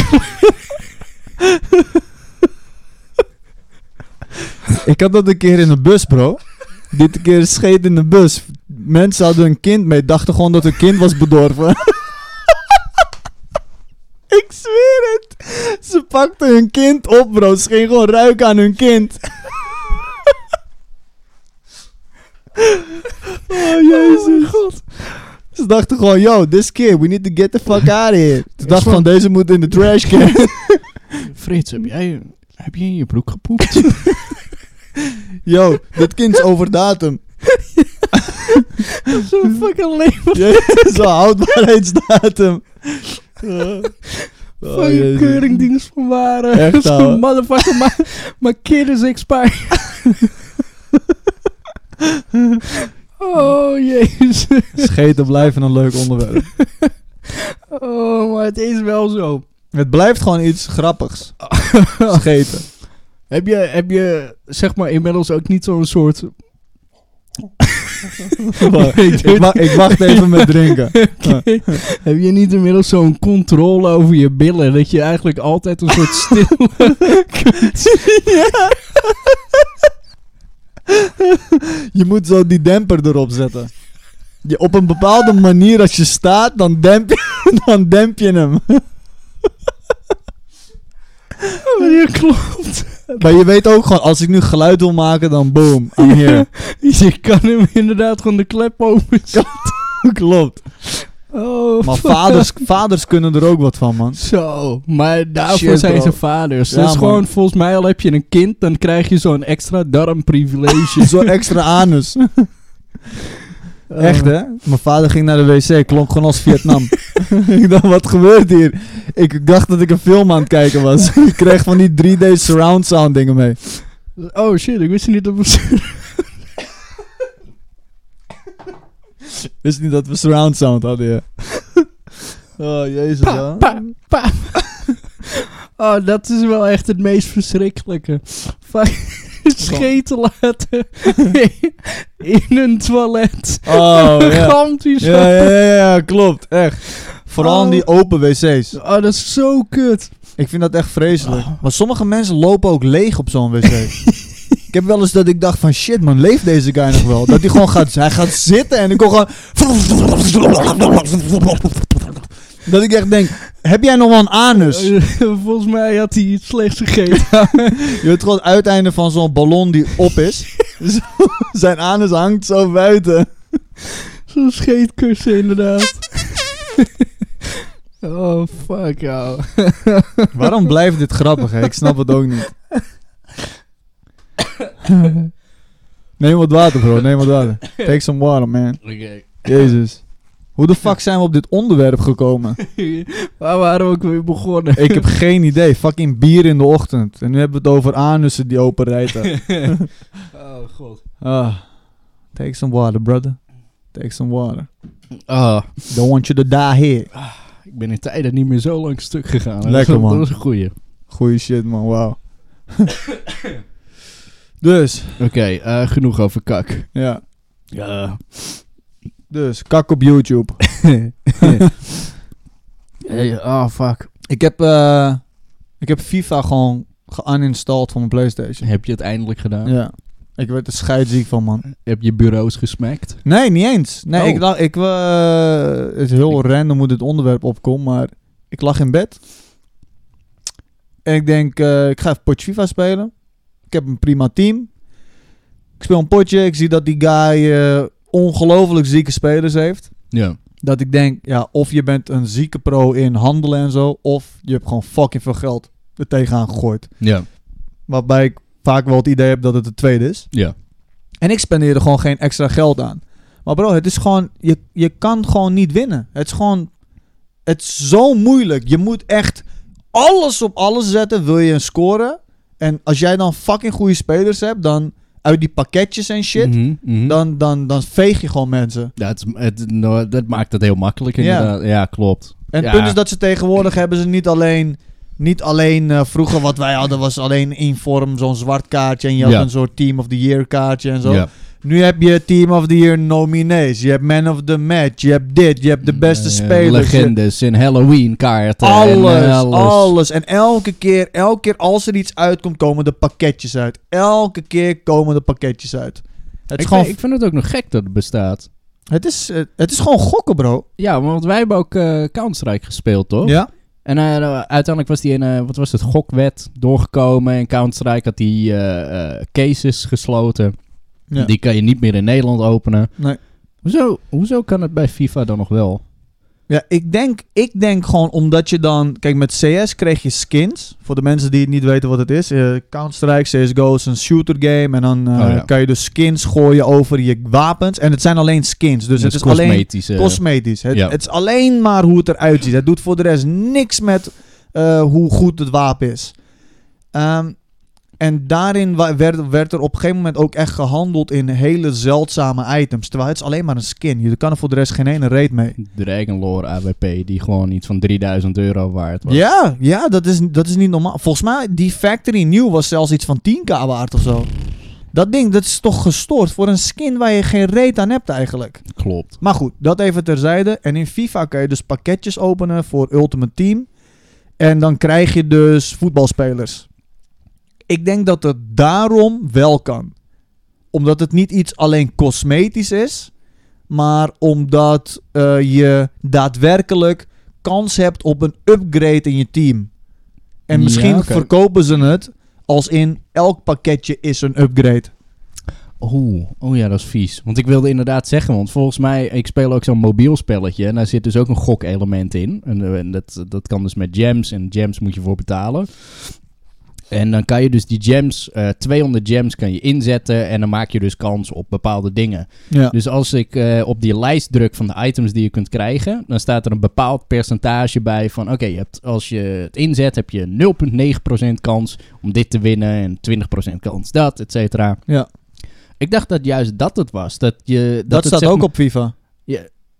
Speaker 1: Ik had dat een keer in de bus, bro. Dit keer scheet in de bus. Mensen hadden een kind mee, dachten gewoon dat hun kind was bedorven. Ik zweer het. Ze pakten hun kind op, bro. Ze gingen gewoon ruiken aan hun kind.
Speaker 2: Oh, jezus. god.
Speaker 1: Ze dachten gewoon, yo, this kid, we need to get the fuck out of here. Ze dachten van, deze moet in de trash can.
Speaker 2: Frits, heb jij, heb jij in je broek gepoept?
Speaker 1: Yo, dit kind is over datum.
Speaker 2: zo'n fucking leven.
Speaker 1: Zo'n houdbaarheidsdatum. Oh,
Speaker 2: Van je
Speaker 1: jezus.
Speaker 2: keuringdienst van waren.
Speaker 1: Echt, ouwe.
Speaker 2: motherfucker, my, my kid is expired. oh, jezus.
Speaker 1: Scheten blijven een leuk onderwerp.
Speaker 2: Oh, maar het is wel zo.
Speaker 1: Oh. Het blijft gewoon iets grappigs. Scheten.
Speaker 2: Heb je, heb je zeg maar inmiddels ook niet zo'n soort...
Speaker 1: ik, wa- ik wacht even met drinken.
Speaker 2: Heb je niet inmiddels zo'n controle over je billen dat je eigenlijk altijd een soort stil...
Speaker 1: Je moet zo die demper erop zetten. Je, op een bepaalde manier, als je staat, dan demp je, dan demp je hem.
Speaker 2: je klopt.
Speaker 1: Maar je weet ook gewoon, als ik nu geluid wil maken, dan boom, I'm here.
Speaker 2: Je kan hem inderdaad gewoon de klep open
Speaker 1: Klopt.
Speaker 2: Oh,
Speaker 1: Maar vaders, vaders kunnen er ook wat van, man.
Speaker 2: Zo, maar daarvoor
Speaker 1: Shit,
Speaker 2: zijn
Speaker 1: bro.
Speaker 2: ze vaders.
Speaker 1: Ja,
Speaker 2: dat is
Speaker 1: man.
Speaker 2: gewoon, volgens mij al heb je een kind, dan krijg je zo'n extra darmprivilege.
Speaker 1: Zo'n extra anus. Echt, hè? Ehm, Mijn vader ging naar de wc, klonk gewoon als Vietnam. ik dacht, wat gebeurt hier? Ik dacht dat ik een film aan het kijken was. ik kreeg van die 3D surround sound dingen mee.
Speaker 2: Oh shit, ik wist niet dat we...
Speaker 1: Wist niet dat we surround sound hadden, ja. oh, jezus, ja.
Speaker 2: Pa, pa. Oh, dat is wel echt het meest verschrikkelijke. Fuck, Scheten laten in een toilet.
Speaker 1: Oh, ja.
Speaker 2: Gamt die zo.
Speaker 1: Ja, ja, ja, ja, klopt, echt. Vooral in die open wc's.
Speaker 2: Oh, dat is zo kut.
Speaker 1: Ik vind dat echt vreselijk. Maar sommige mensen lopen ook leeg op zo'n wc. ik heb wel eens dat ik dacht van shit man, leeft deze guy nog wel? Dat hij gewoon gaat, hij gaat zitten en ik kon gewoon... Dat ik echt denk, heb jij nog wel een anus? Je
Speaker 2: Volgens mij had hij iets slechts gegeten.
Speaker 1: weet gewoon het uiteinde van zo'n ballon die op is. Zo, Zijn anus hangt zo buiten.
Speaker 2: Zo'n scheetkussen inderdaad. Oh, fuck jou.
Speaker 1: Waarom blijft dit grappig? Hè? Ik snap het ook niet. Neem wat water bro, neem wat water. Take some water man.
Speaker 2: Oké.
Speaker 1: Jezus. Hoe de fuck zijn we op dit onderwerp gekomen?
Speaker 2: Waar waren we ook weer begonnen?
Speaker 1: Ik heb geen idee. Fucking bier in de ochtend. En nu hebben we het over anussen die openrijden.
Speaker 2: oh, god.
Speaker 1: Ah. Take some water, brother. Take some water.
Speaker 2: Ah,
Speaker 1: Don't want you to die here.
Speaker 2: ik ben in tijden niet meer zo lang stuk gegaan. Dat
Speaker 1: Lekker,
Speaker 2: is-
Speaker 1: man.
Speaker 2: Dat is een goeie.
Speaker 1: Goeie shit, man. Wauw. dus,
Speaker 2: Oké, eh, genoeg over kak.
Speaker 1: ja.
Speaker 2: Ja.
Speaker 1: Dus, kak op YouTube.
Speaker 2: oh, fuck.
Speaker 1: Ik heb, eh, ik heb FIFA gewoon geuninstalled van mijn Playstation.
Speaker 2: Heb je het eindelijk gedaan?
Speaker 1: Ja. Ik werd er scheidziek van, man.
Speaker 2: Heb je bureaus gesmakt?
Speaker 1: Nee, niet eens. Nee,
Speaker 2: Oh.
Speaker 1: ik lag, ik, eh, het is heel random hoe dit onderwerp opkomt, maar ik lag in bed. En ik denk, eh, ik ga even potje FIFA spelen. Ik heb een prima team. Ik speel een potje. Ik zie dat die guy eh ongelooflijk zieke spelers heeft.
Speaker 2: Ja.
Speaker 1: Dat ik denk, ja, of je bent een zieke pro in handelen en zo, of je hebt gewoon fucking veel geld er tegenaan gegooid.
Speaker 2: Ja.
Speaker 1: Waarbij ik vaak wel het idee heb dat het de tweede is.
Speaker 2: Ja.
Speaker 1: En ik spendeerde gewoon geen extra geld aan. Maar bro, het is gewoon... Je, je kan gewoon niet winnen. Het is gewoon... Het is zo moeilijk. Je moet echt alles op alles zetten. Wil je een scoren? En als jij dan fucking goede spelers hebt... Dan uit die pakketjes en shit...
Speaker 2: Mhm, mhm.
Speaker 1: dan, dan, dan veeg je gewoon mensen.
Speaker 2: Dat, is- het, nou, dat maakt het heel makkelijk
Speaker 1: Ja.
Speaker 2: inderdaad. Ja, klopt.
Speaker 1: En het
Speaker 2: Ja.
Speaker 1: punt is dat ze tegenwoordig hebben ze niet alleen... Niet alleen eh, vroeger wat wij hadden was alleen in vorm zo'n zwart kaartje. En je had
Speaker 2: Ja.
Speaker 1: een soort team of the year kaartje en zo.
Speaker 2: Ja.
Speaker 1: Nu heb je Team of the Year nominees. Je hebt Man of the Match. Je hebt dit. Je hebt de beste
Speaker 2: Eh,
Speaker 1: spelers. je-
Speaker 2: Legendes en Halloween kaarten.
Speaker 1: Alles,
Speaker 2: en eh,
Speaker 1: alles. En elke keer, elke keer als er iets uitkomt, komen de pakketjes uit. Elke keer komen de pakketjes uit. Het is,
Speaker 2: Ik,
Speaker 1: gewoon,
Speaker 2: vind, ik vind het ook nog gek dat het bestaat.
Speaker 1: het is, eh, het is gewoon gokken, bro.
Speaker 2: Ja, want wij hebben ook eh Counter-Strike gespeeld, toch?
Speaker 1: Ja?
Speaker 2: En eh, uiteindelijk was die in, eh, wat was het, gokwet doorgekomen. En Counter-Strike had die eh, eh, cases gesloten.
Speaker 1: Ja.
Speaker 2: Die kan je niet meer in Nederland openen.
Speaker 1: Nee.
Speaker 2: Hoezo, hoezo kan het bij FIFA dan nog wel?
Speaker 1: Ja, ik denk, ik denk gewoon omdat je dan... Kijk, met CS kreeg je skins. Voor de mensen die het niet weten wat het is. eh, Counter-Strike, CSGO is een shooter game. En dan eh,
Speaker 2: Oh, ja.
Speaker 1: kan je dus skins gooien over je wapens. En het zijn alleen skins. Dus
Speaker 2: Dat
Speaker 1: het is alleen
Speaker 2: cosmetische-
Speaker 1: cosmetisch. Het,
Speaker 2: eh. ja.
Speaker 1: het is alleen maar hoe het eruit ziet. Het doet voor de rest niks met eh, hoe goed het wapen is. Ehm, En daarin wa- werd, werd er op een gegeven moment ook echt gehandeld in hele zeldzame items. Terwijl het is alleen maar een skin. Je kan er voor de rest geen ene reet mee.
Speaker 2: Dragon Lore AWP, die gewoon iets van 3000 euro waard was.
Speaker 1: Ja, ja dat, is, dat is niet normaal. Volgens mij, die Factory nieuw was zelfs iets van 10k waard of zo. Dat ding, dat is toch gestoord voor een skin waar je geen reet aan hebt eigenlijk.
Speaker 2: Klopt.
Speaker 1: Maar goed, dat even terzijde. En in FIFA kan je dus pakketjes openen voor Ultimate Team. En dan krijg je dus voetbalspelers. Ik denk dat het daarom wel kan. Omdat het niet iets alleen cosmetisch is. Maar omdat eh, je daadwerkelijk kans hebt op een upgrade in je team. En
Speaker 2: Ja,
Speaker 1: misschien
Speaker 2: oké.
Speaker 1: verkopen ze het als in elk pakketje is een upgrade.
Speaker 2: Oeh, oh ja, dat is vies. Want ik wilde inderdaad zeggen, want volgens mij, ik speel ook zo'n mobiel spelletje. En daar zit dus ook een gokelement in. En, eh, en dat, dat kan dus met gems. En gems moet je voor betalen. En dan kan je dus die gems, eh 200 gems kan je inzetten. En dan maak je dus kans op bepaalde dingen.
Speaker 1: Ja.
Speaker 2: Dus als ik eh, op die lijst druk van de items die je kunt krijgen, dan staat er een bepaald percentage bij van oké, je hebt- als je het inzet heb je 0,9% kans om dit te winnen en 20% kans dat, et cetera.
Speaker 1: Ja.
Speaker 2: Ik dacht dat juist dat het was. Dat, je,
Speaker 1: Dat,
Speaker 2: het
Speaker 1: staat
Speaker 2: zeg
Speaker 1: ook
Speaker 2: maar-
Speaker 1: op FIFA.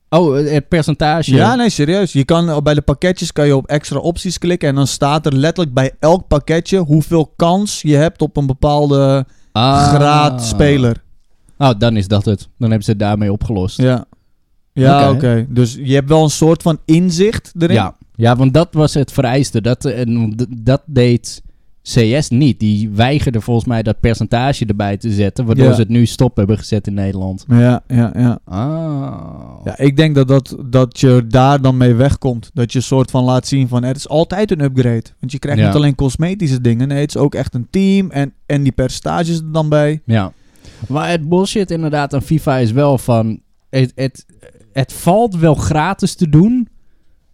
Speaker 2: Oh, eh, het percentage.
Speaker 1: Ja, nee, serieus. Je kan eh, bij de pakketjes kan je op extra opties klikken en dan staat er letterlijk bij elk pakketje hoeveel kans je hebt op een bepaalde
Speaker 2: Ah.
Speaker 1: graad speler.
Speaker 2: Oh, dan is dat het. Dan hebben ze het daarmee opgelost.
Speaker 1: Ja. Ja,
Speaker 2: Oké.
Speaker 1: oké. Dus je hebt wel een soort van inzicht erin.
Speaker 2: Ja, ja want dat was het vereiste. Dat, eh, en d- dat deed CS niet. Die weigerde volgens mij dat percentage erbij te zetten, waardoor
Speaker 1: Ja.
Speaker 2: ze het nu stop hebben gezet in Nederland.
Speaker 1: Ja, ja, ja.
Speaker 2: Ah.
Speaker 1: Ja, ik denk dat, dat, dat je daar dan mee wegkomt. Dat je een soort van laat zien van het is altijd een upgrade. Want je krijgt
Speaker 2: Ja.
Speaker 1: niet alleen cosmetische dingen. Nee, het is ook echt een team en, en die percentages er dan bij.
Speaker 2: Ja. Maar het bullshit inderdaad aan FIFA is wel van... Het, het, het valt wel gratis te doen...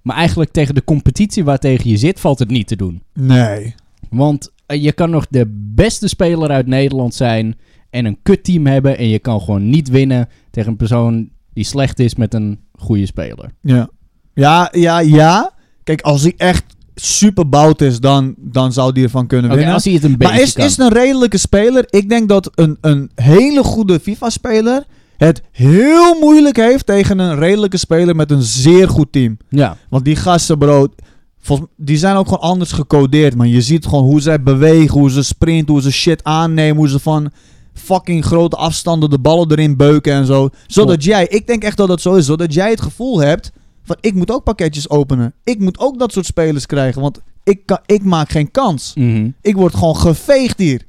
Speaker 2: maar eigenlijk tegen de competitie waartegen je zit... valt het niet te doen.
Speaker 1: Nee.
Speaker 2: Want eh, je kan nog de beste speler uit Nederland zijn... en een kutteam hebben... en je kan gewoon niet winnen tegen een persoon... die slecht is met een goede speler.
Speaker 1: Ja. Ja, ja, ja. Kijk, als hij echt super bout is, dan, dan zou die ervan kunnen
Speaker 2: Oké,
Speaker 1: winnen.
Speaker 2: als hij het een beetje
Speaker 1: maar is,
Speaker 2: kan.
Speaker 1: is het een redelijke speler? Ik denk dat een, een hele goede FIFA-speler het heel moeilijk heeft tegen een redelijke speler met een zeer goed team.
Speaker 2: Ja,
Speaker 1: Want die gasten, bro, volgens, die zijn ook gewoon anders gecodeerd, man. Je ziet gewoon hoe zij bewegen, hoe ze sprinten, hoe ze shit aannemen, hoe ze van fucking grote afstanden de ballen erin beuken en zo. Zodat
Speaker 2: Klopt.
Speaker 1: jij, ik denk echt dat dat zo is, zodat jij het gevoel hebt van ik moet ook pakketjes openen. Ik moet ook dat soort spelers krijgen, want ik, kan, ik maak geen kans.
Speaker 2: Mhm.
Speaker 1: Ik word gewoon geveegd hier.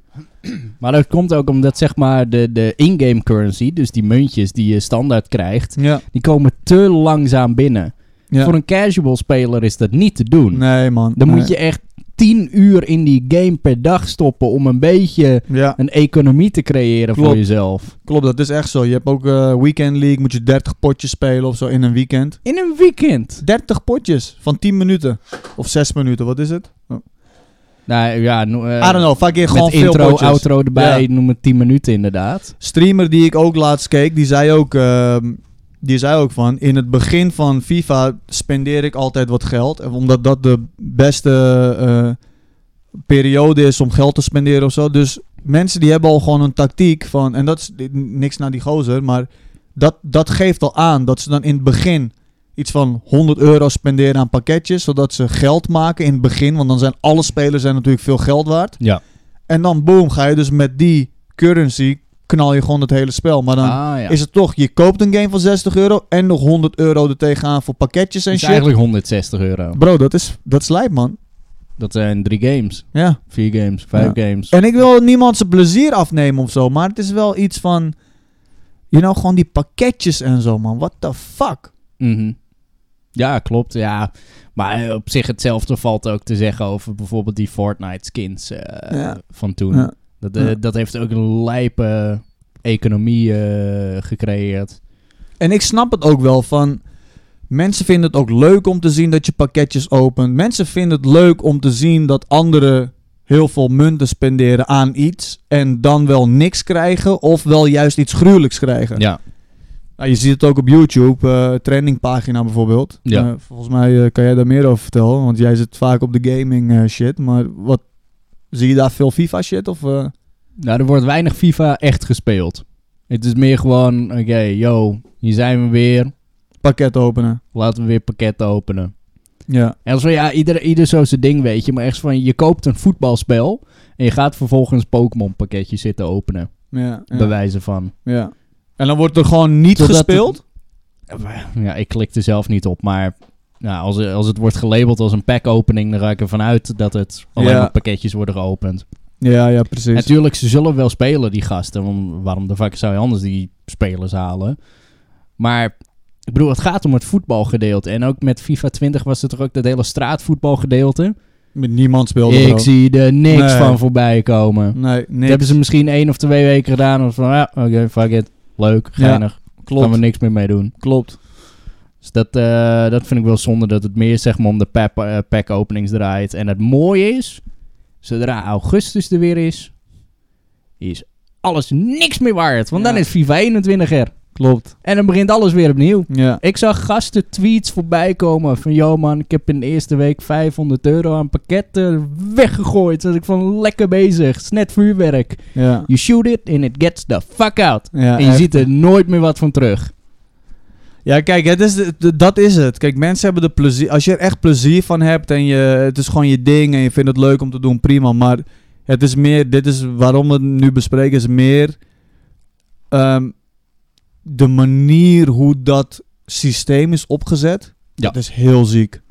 Speaker 2: maar dat komt ook omdat zeg maar de, de in-game currency... dus die muntjes die je standaard krijgt...
Speaker 1: Ja.
Speaker 2: die komen te langzaam binnen... Voor een casual speler is dat niet te doen.
Speaker 1: Nee, man.
Speaker 2: Dan
Speaker 1: Nee.
Speaker 2: moet je echt 10 uur in die game per dag stoppen om een beetje
Speaker 1: Ja,
Speaker 2: een economie te creëren voor
Speaker 1: Klopt.
Speaker 2: jezelf.
Speaker 1: klopt. Dat is echt zo. Je hebt ook eh, Weekend League, moet je 30 potjes spelen of zo in een weekend.
Speaker 2: In een weekend.
Speaker 1: 30 potjes van 10 minuten. Of 6 minuten, wat is het?
Speaker 2: Nou ja, no- eh,
Speaker 1: I don't know, vaak in
Speaker 2: met
Speaker 1: gewoon veel
Speaker 2: intro,
Speaker 1: potjes.
Speaker 2: outro erbij, noem het 10 minuten inderdaad.
Speaker 1: Streamer die ik ook laatst keek, die zei ook, ehm, die zei ook van... In het begin van FIFA spendeer ik altijd wat geld. En Omdat dat de beste eh, periode is om geld te spenderen of zo. Dus mensen die hebben al gewoon een tactiek van... En dat is n- niks naar die gozer, maar dat, dat geeft al aan dat ze dan in het begin... Iets van 100 euro spenderen aan pakketjes, zodat ze geld maken in het begin. Want dan zijn alle spelers zijn natuurlijk veel geld waard.
Speaker 2: Ja.
Speaker 1: En dan boom, ga je dus met die currency knal je gewoon het hele spel. Maar dan
Speaker 2: ah, ja.
Speaker 1: is het toch, je koopt een game van 60 euro en nog 100 euro er tegenaan voor pakketjes en
Speaker 2: is
Speaker 1: shit.
Speaker 2: eigenlijk 160 euro.
Speaker 1: Bro, dat is, dat is lijp, man.
Speaker 2: Dat zijn drie games,
Speaker 1: Ja.
Speaker 2: vier games, vijf games.
Speaker 1: En ik wil niemand zijn plezier afnemen of zo, maar het is wel iets van, you know, gewoon die pakketjes en zo, man. What the fuck?
Speaker 2: Mhm. Ja, klopt. Ja. Maar eh, op zich hetzelfde valt ook te zeggen over bijvoorbeeld die Fortnite skins eh,
Speaker 1: Ja.
Speaker 2: van toen.
Speaker 1: Ja.
Speaker 2: Dat, eh,
Speaker 1: Ja.
Speaker 2: dat heeft ook een lijpe economie eh, gecreëerd.
Speaker 1: En ik snap het ook wel van. Mensen vinden het ook leuk om te zien dat je pakketjes opent. Mensen vinden het leuk om te zien dat anderen heel veel munten spenderen aan iets. En dan wel niks krijgen of wel juist iets gruwelijks krijgen.
Speaker 2: Ja.
Speaker 1: Nou, je ziet het ook op YouTube, eh trendingpagina bijvoorbeeld.
Speaker 2: Ja.
Speaker 1: Eh, volgens mij eh, kan jij daar meer over vertellen, want jij zit vaak op de gaming eh, shit. Maar wat, Zie je daar veel FIFA shit? Of, eh,
Speaker 2: Nou, er wordt weinig FIFA echt gespeeld. Het is meer gewoon, oké, yo, hier zijn we weer.
Speaker 1: pakket openen.
Speaker 2: Laten we weer pakketten openen.
Speaker 1: Ja.
Speaker 2: En zo, ja, ieder, ieder zo zijn ding, weet je. Maar echt van, je koopt een voetbalspel en je gaat vervolgens Pokémon pakketje zitten openen.
Speaker 1: Ja, ja,
Speaker 2: Bewijzen van.
Speaker 1: ja. En dan wordt er gewoon niet
Speaker 2: Totdat het-
Speaker 1: gespeeld?
Speaker 2: Ja, ik klik er zelf niet op, maar nou, als, als het wordt gelabeld als een pack opening, dan ga ik ervan uit dat het alleen
Speaker 1: Ja.
Speaker 2: maar pakketjes worden geopend.
Speaker 1: Ja, ja, precies.
Speaker 2: Natuurlijk, ze zullen wel spelen, die gasten. Want waarom de fuck zou je anders die spelers halen? Maar ik bedoel, het gaat om het voetbalgedeelte. En ook met FIFA 20 was het er ook dat hele straatvoetbalgedeelte.
Speaker 1: Met niemand speelde er
Speaker 2: ik
Speaker 1: ook.
Speaker 2: zie er niks
Speaker 1: Nee.
Speaker 2: van voorbij komen.
Speaker 1: Nee,
Speaker 2: Dat
Speaker 1: nee.
Speaker 2: hebben ze misschien één of twee weken gedaan. Of van, ja, oké, fuck it. Leuk, geinig. Gaan we
Speaker 1: Klopt,
Speaker 2: niks meer mee doen.
Speaker 1: klopt.
Speaker 2: Dus dat, eh, dat vind ik wel zonde dat het meer zeg maar, om de pap- eh, pack-openings draait. En het mooie is, zodra augustus er weer is, is alles niks meer waard. Want dan
Speaker 1: Ja.
Speaker 2: is FIFA 21 er.
Speaker 1: Klopt.
Speaker 2: En dan begint alles weer opnieuw.
Speaker 1: Ja.
Speaker 2: Ik zag gasten tweets voorbij komen van... Yo man, ik heb in de eerste week 500 euro aan pakketten weggegooid. Dat ik van lekker bezig. Het is net vuurwerk.
Speaker 1: Ja.
Speaker 2: You shoot it and it gets the fuck out.
Speaker 1: Ja,
Speaker 2: en je
Speaker 1: echt.
Speaker 2: ziet er nooit meer wat van terug.
Speaker 1: ja, kijk, het is de- de- dat is het. Kijk, mensen hebben er plezier. Als je er echt plezier van hebt en je, het is gewoon je ding en je vindt het leuk om te doen, prima. Maar het is meer, dit is waarom we het nu bespreken, is meer ehm, de manier hoe dat systeem is opgezet.
Speaker 2: Ja.
Speaker 1: Dat is heel ziek.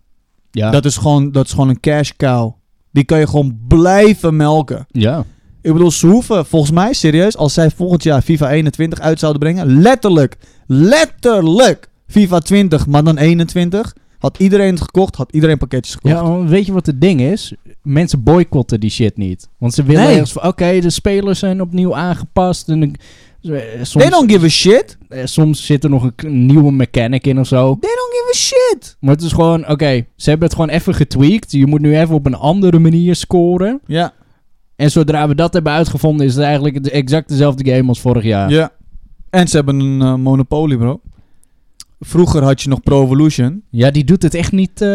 Speaker 2: Ja.
Speaker 1: Dat, is gewoon, dat is gewoon een cash cow. Die kan je gewoon blijven melken.
Speaker 2: ja.
Speaker 1: Ik bedoel, ze hoeven volgens mij serieus, als zij volgend jaar FIFA 21 uit zouden brengen, letterlijk, letterlijk FIFA 20, maar dan 21. Had iedereen het gekocht, had iedereen pakketjes gekocht.
Speaker 2: Ja, want weet je wat het ding is? Mensen boycotten die shit niet. Want ze willen
Speaker 1: Nee.
Speaker 2: ergens van... Oké, de spelers zijn opnieuw aangepast. En ik- eh, soms,
Speaker 1: They don't give a shit.
Speaker 2: eh, soms zit er nog een k- een nieuwe mechanic in of zo.
Speaker 1: They don't give a shit.
Speaker 2: Maar het is gewoon... Oké, ze hebben het gewoon even getweakt. Je moet nu even op een andere manier scoren.
Speaker 1: Ja,
Speaker 2: En zodra we dat hebben uitgevonden... is het eigenlijk het exact dezelfde game als vorig jaar.
Speaker 1: ja. En ze hebben een eh, monopolie, bro. Vroeger had je nog Pro Evolution.
Speaker 2: Ja, die doet het echt niet... eh,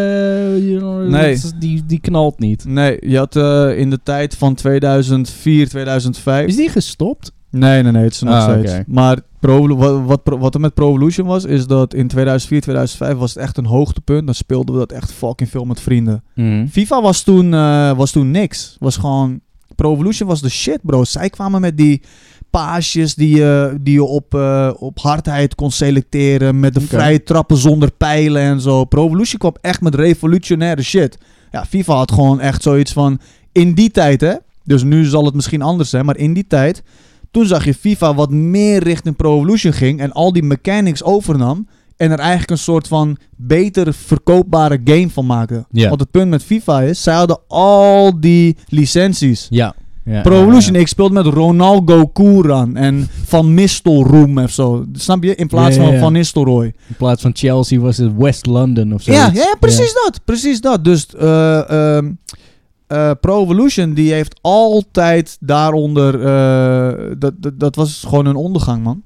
Speaker 2: you know,
Speaker 1: Nee.
Speaker 2: dat is- Die, die knalt niet.
Speaker 1: Nee, je had eh, in de tijd van 2004, 2005.
Speaker 2: Is die gestopt?
Speaker 1: Nee, nee, nee, het is er nog
Speaker 2: Ah,
Speaker 1: steeds.
Speaker 2: oké.
Speaker 1: Maar Pro, wat, wat, Pro- wat er met Pro Evolution was, is dat in 2004, 2005 was het echt een hoogtepunt. Dan speelden we dat echt fucking veel met vrienden.
Speaker 2: Mhm. Mm-hmm.
Speaker 1: FIFA was toen, eh, was toen niks. Was gewoon, Pro Evolution was de shit, bro. Zij kwamen met die paasjes die, je die je op, eh, op hardheid kon selecteren. Met de
Speaker 2: Oké.
Speaker 1: vrije trappen zonder pijlen en zo. Pro Evolution kwam echt met revolutionaire shit. Ja, FIFA had gewoon echt zoiets van... In die tijd, hè. Dus nu zal het misschien anders zijn. Maar in die tijd... Toen zag je FIFA wat meer richting Pro Evolution ging. En al die mechanics overnam. En er eigenlijk een soort van beter verkoopbare game van maakte.
Speaker 2: Ja.
Speaker 1: Want het punt met FIFA is... Zij hadden al die licenties.
Speaker 2: Ja. ja
Speaker 1: Pro
Speaker 2: ja,
Speaker 1: Evolution,
Speaker 2: ja.
Speaker 1: ik speelde met Ronaldo Koeran en Van Nistelroem of zo. Snap je? In plaats
Speaker 2: Ja, ja,
Speaker 1: van
Speaker 2: ja.
Speaker 1: Van Nistelrooy.
Speaker 2: In plaats van Chelsea was het West London of zo.
Speaker 1: Ja, ja, ja, precies dat. Precies dat. Dus eh, ehm, eh, Pro Evolution, die heeft altijd daaronder... eh, dat, dat, dat was gewoon een ondergang, man.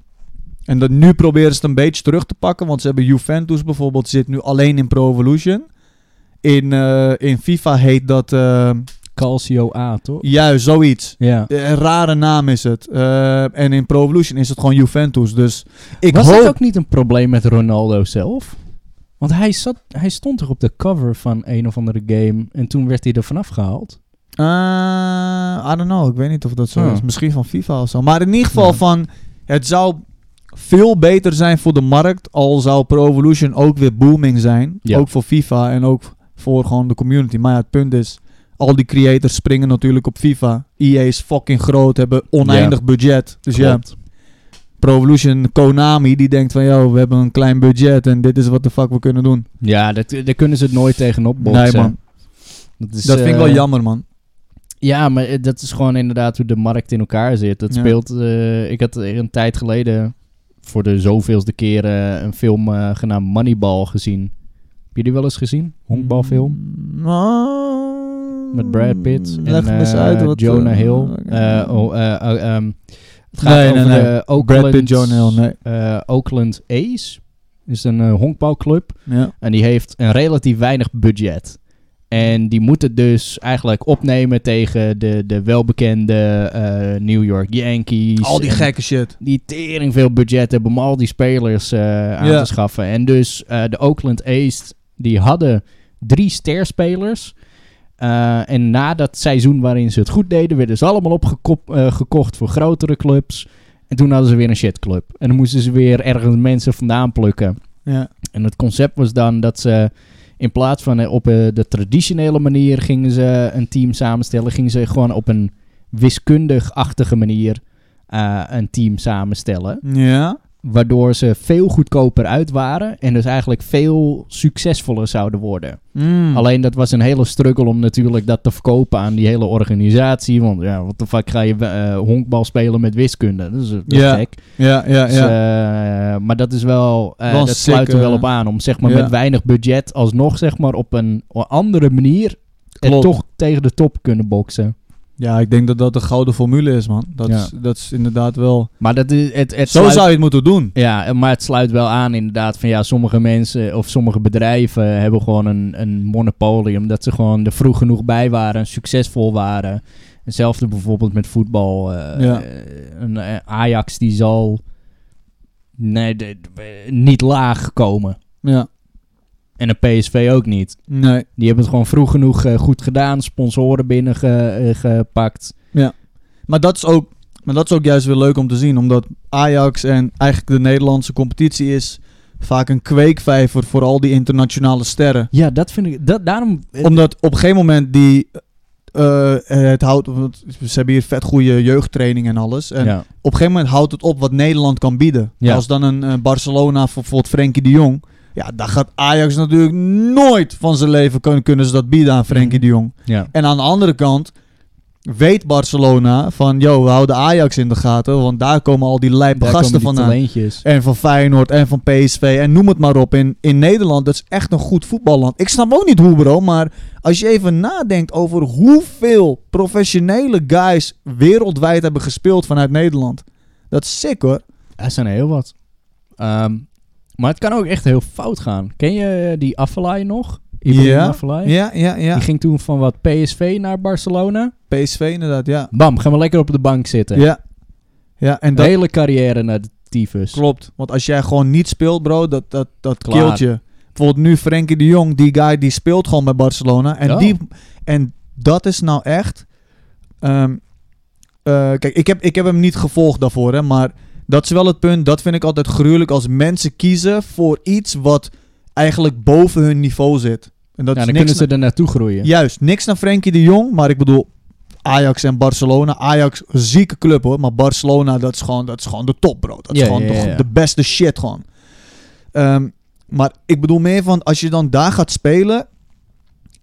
Speaker 1: En dat nu proberen ze het een beetje terug te pakken. Want ze hebben Juventus bijvoorbeeld, zit nu alleen in Pro Evolution. In, eh, in FIFA heet dat... eh,
Speaker 2: Calcio A, toch?
Speaker 1: juist, zoiets. Eh,
Speaker 2: Ja.
Speaker 1: Een rare naam is het. Eh, en in Pro Evolution is het gewoon Juventus. Dus ik
Speaker 2: was
Speaker 1: hoop...
Speaker 2: dat ook niet een probleem met Ronaldo zelf? Want hij, zat, hij stond toch op de cover van een of andere game en toen werd hij er vanaf gehaald?
Speaker 1: Eh, I don't know. Ik weet niet of dat zo
Speaker 2: Hmm.
Speaker 1: is. Misschien van FIFA of zo. Maar in ieder geval
Speaker 2: Ja.
Speaker 1: van... Het zou veel beter zijn voor de markt. Al zou Pro Evolution ook weer booming zijn.
Speaker 2: Ja.
Speaker 1: Ook voor FIFA en ook voor gewoon de community. Maar ja, het punt is... Al die creators springen natuurlijk op FIFA. EA is fucking groot. Hebben oneindig budget. Dus ja...
Speaker 2: Klopt.
Speaker 1: Pro Evolution Konami die denkt van... Yo, we hebben een klein budget en dit is wat de fuck we kunnen doen.
Speaker 2: Ja, dat, daar kunnen ze het nooit tegenop botsen.
Speaker 1: Nee man,
Speaker 2: Dat, is,
Speaker 1: dat vind ik wel
Speaker 2: eh,
Speaker 1: jammer man.
Speaker 2: Ja, maar eh, dat is gewoon inderdaad hoe de markt in elkaar zit. Dat
Speaker 1: Ja.
Speaker 2: speelt... eh, ik had er een tijd geleden voor de zoveelste keer eh, een film eh, genaamd Moneyball gezien. Heb je die wel eens gezien? Honkbalfilm?
Speaker 1: Mm, nou,
Speaker 2: Met Brad Pitt
Speaker 1: Leg
Speaker 2: en
Speaker 1: me eens
Speaker 2: eh,
Speaker 1: uit wat,
Speaker 2: Jonah
Speaker 1: eh,
Speaker 2: Hill.
Speaker 1: oké.
Speaker 2: Eh, oh, eh, oh, ehm, het gaat
Speaker 1: Nee, nee,
Speaker 2: over
Speaker 1: nee.
Speaker 2: de Oakland,
Speaker 1: Brad Pitt, Jonah Hill, nee.
Speaker 2: eh, Oakland A's. is een eh, honkbalclub.
Speaker 1: Ja.
Speaker 2: En die heeft een relatief weinig budget. En die moeten dus eigenlijk opnemen tegen de, de welbekende eh, New York Yankees.
Speaker 1: Al die
Speaker 2: en-
Speaker 1: gekke shit.
Speaker 2: die tering veel budget hebben om al die spelers eh, aan
Speaker 1: Ja.
Speaker 2: te schaffen. En dus eh, de Oakland A's, die hadden drie sterspelers. Eh, en na dat seizoen waarin ze het goed deden, werden ze allemaal opgekocht gekocht voor grotere clubs. En toen hadden ze weer een shitclub. En dan moesten ze weer ergens mensen vandaan plukken.
Speaker 1: Ja.
Speaker 2: En het concept was dan dat ze in plaats van eh, op eh, de traditionele manier gingen ze een team samenstellen, gingen ze gewoon op een wiskundig-achtige manier eh, een team samenstellen.
Speaker 1: Ja.
Speaker 2: Waardoor ze veel goedkoper uit waren en dus eigenlijk veel succesvoller zouden worden.
Speaker 1: Mm.
Speaker 2: Alleen dat was een hele struggle om natuurlijk dat te verkopen aan die hele organisatie. Want ja, wat de fuck ga je eh, honkbal spelen met wiskunde? Dat is, dat is
Speaker 1: Ja.
Speaker 2: gek.
Speaker 1: Ja, ja,
Speaker 2: Dus,
Speaker 1: ja.
Speaker 2: eh, maar dat is wel, eh,
Speaker 1: Wel een
Speaker 2: dat sluit er
Speaker 1: sick,
Speaker 2: wel
Speaker 1: eh,
Speaker 2: op aan om zeg maar
Speaker 1: ja.
Speaker 2: met weinig budget alsnog zeg maar op een andere manier en
Speaker 1: Klopt.
Speaker 2: toch tegen de top kunnen boksen.
Speaker 1: ja, ik denk dat dat de gouden formule is, man. Dat,
Speaker 2: Ja.
Speaker 1: is, dat is inderdaad wel...
Speaker 2: Maar dat is het, het
Speaker 1: Zo
Speaker 2: sluit,
Speaker 1: zou je het moeten doen.
Speaker 2: ja, maar het sluit wel aan inderdaad van ja, sommige mensen of sommige bedrijven hebben gewoon een, een monopolie omdat ze gewoon er vroeg genoeg bij waren, en succesvol waren. Hetzelfde bijvoorbeeld met voetbal. eh,
Speaker 1: Ja.
Speaker 2: eh, een eh, Ajax die zal nee, de- de- niet laag komen.
Speaker 1: Ja.
Speaker 2: En een PSV ook niet.
Speaker 1: Nee.
Speaker 2: Die hebben het gewoon vroeg genoeg eh, goed gedaan. Sponsoren eh, binnengepakt.
Speaker 1: Maar dat, is ook, maar dat is ook juist weer leuk om te zien. Omdat Ajax en eigenlijk de Nederlandse competitie is vaak een kweekvijver voor al die internationale sterren.
Speaker 2: Ja, dat vind ik... Dat, daarom... eh,
Speaker 1: Omdat op een gegeven moment die... eh, het houdt, want ze hebben hier vet goede jeugdtraining en alles. En
Speaker 2: ja.
Speaker 1: op een gegeven moment houdt het op wat Nederland kan bieden.
Speaker 2: Ja.
Speaker 1: Als dan een eh, Barcelona voor bijvoorbeeld Frenkie de Jong. Ja, daar gaat Ajax natuurlijk nooit van zijn leven kunnen, kunnen ze dat bieden aan Frenkie de Jong.
Speaker 2: ja.
Speaker 1: En aan de andere kant weet Barcelona van... ...joh, we houden Ajax in de gaten, want daar komen al die lijpe
Speaker 2: Daar
Speaker 1: gasten
Speaker 2: komen die
Speaker 1: vandaan.
Speaker 2: talentjes.
Speaker 1: En van Feyenoord en van PSV en noem het maar op. In, in Nederland, dat is echt een goed voetballand. Ik snap ook niet hoe, bro. Maar als je even nadenkt over hoeveel professionele guys wereldwijd hebben gespeeld vanuit Nederland. Dat is sick hoor.
Speaker 2: Er zijn er heel wat. Ehm, maar het kan ook echt heel fout gaan. Ken je eh, die Affelay nog? Ibrahim
Speaker 1: Ja.
Speaker 2: Afellay?
Speaker 1: Ja, ja, ja.
Speaker 2: Die ging toen van wat PSV naar Barcelona.
Speaker 1: PSV inderdaad, ja.
Speaker 2: Bam, gaan we lekker op de bank zitten.
Speaker 1: Ja, ja en
Speaker 2: De
Speaker 1: dat
Speaker 2: hele carrière naar de tyfus.
Speaker 1: klopt. Want als jij gewoon niet speelt, bro, dat, dat, dat
Speaker 2: Klaar.
Speaker 1: kilt je. Bijvoorbeeld nu Frenkie de Jong, die guy die speelt gewoon bij Barcelona. En,
Speaker 2: Oh.
Speaker 1: die, en dat is nou echt... ehm, eh, kijk, ik heb, ik heb hem niet gevolgd daarvoor, hè, maar dat is wel het punt. Dat vind ik altijd gruwelijk als mensen kiezen voor iets wat eigenlijk boven hun niveau zit. En dat
Speaker 2: Ja,
Speaker 1: is
Speaker 2: dan
Speaker 1: niks
Speaker 2: kunnen ze er naartoe groeien.
Speaker 1: Juist, niks naar Frenkie de Jong, maar ik bedoel Ajax en Barcelona. Ajax, zieke club hoor, maar Barcelona, dat is gewoon, dat is gewoon de top, bro. Dat is
Speaker 2: Ja,
Speaker 1: gewoon
Speaker 2: ja,
Speaker 1: de,
Speaker 2: ja, ja.
Speaker 1: de beste shit gewoon. Ehm, maar ik bedoel meer van, als je dan daar gaat spelen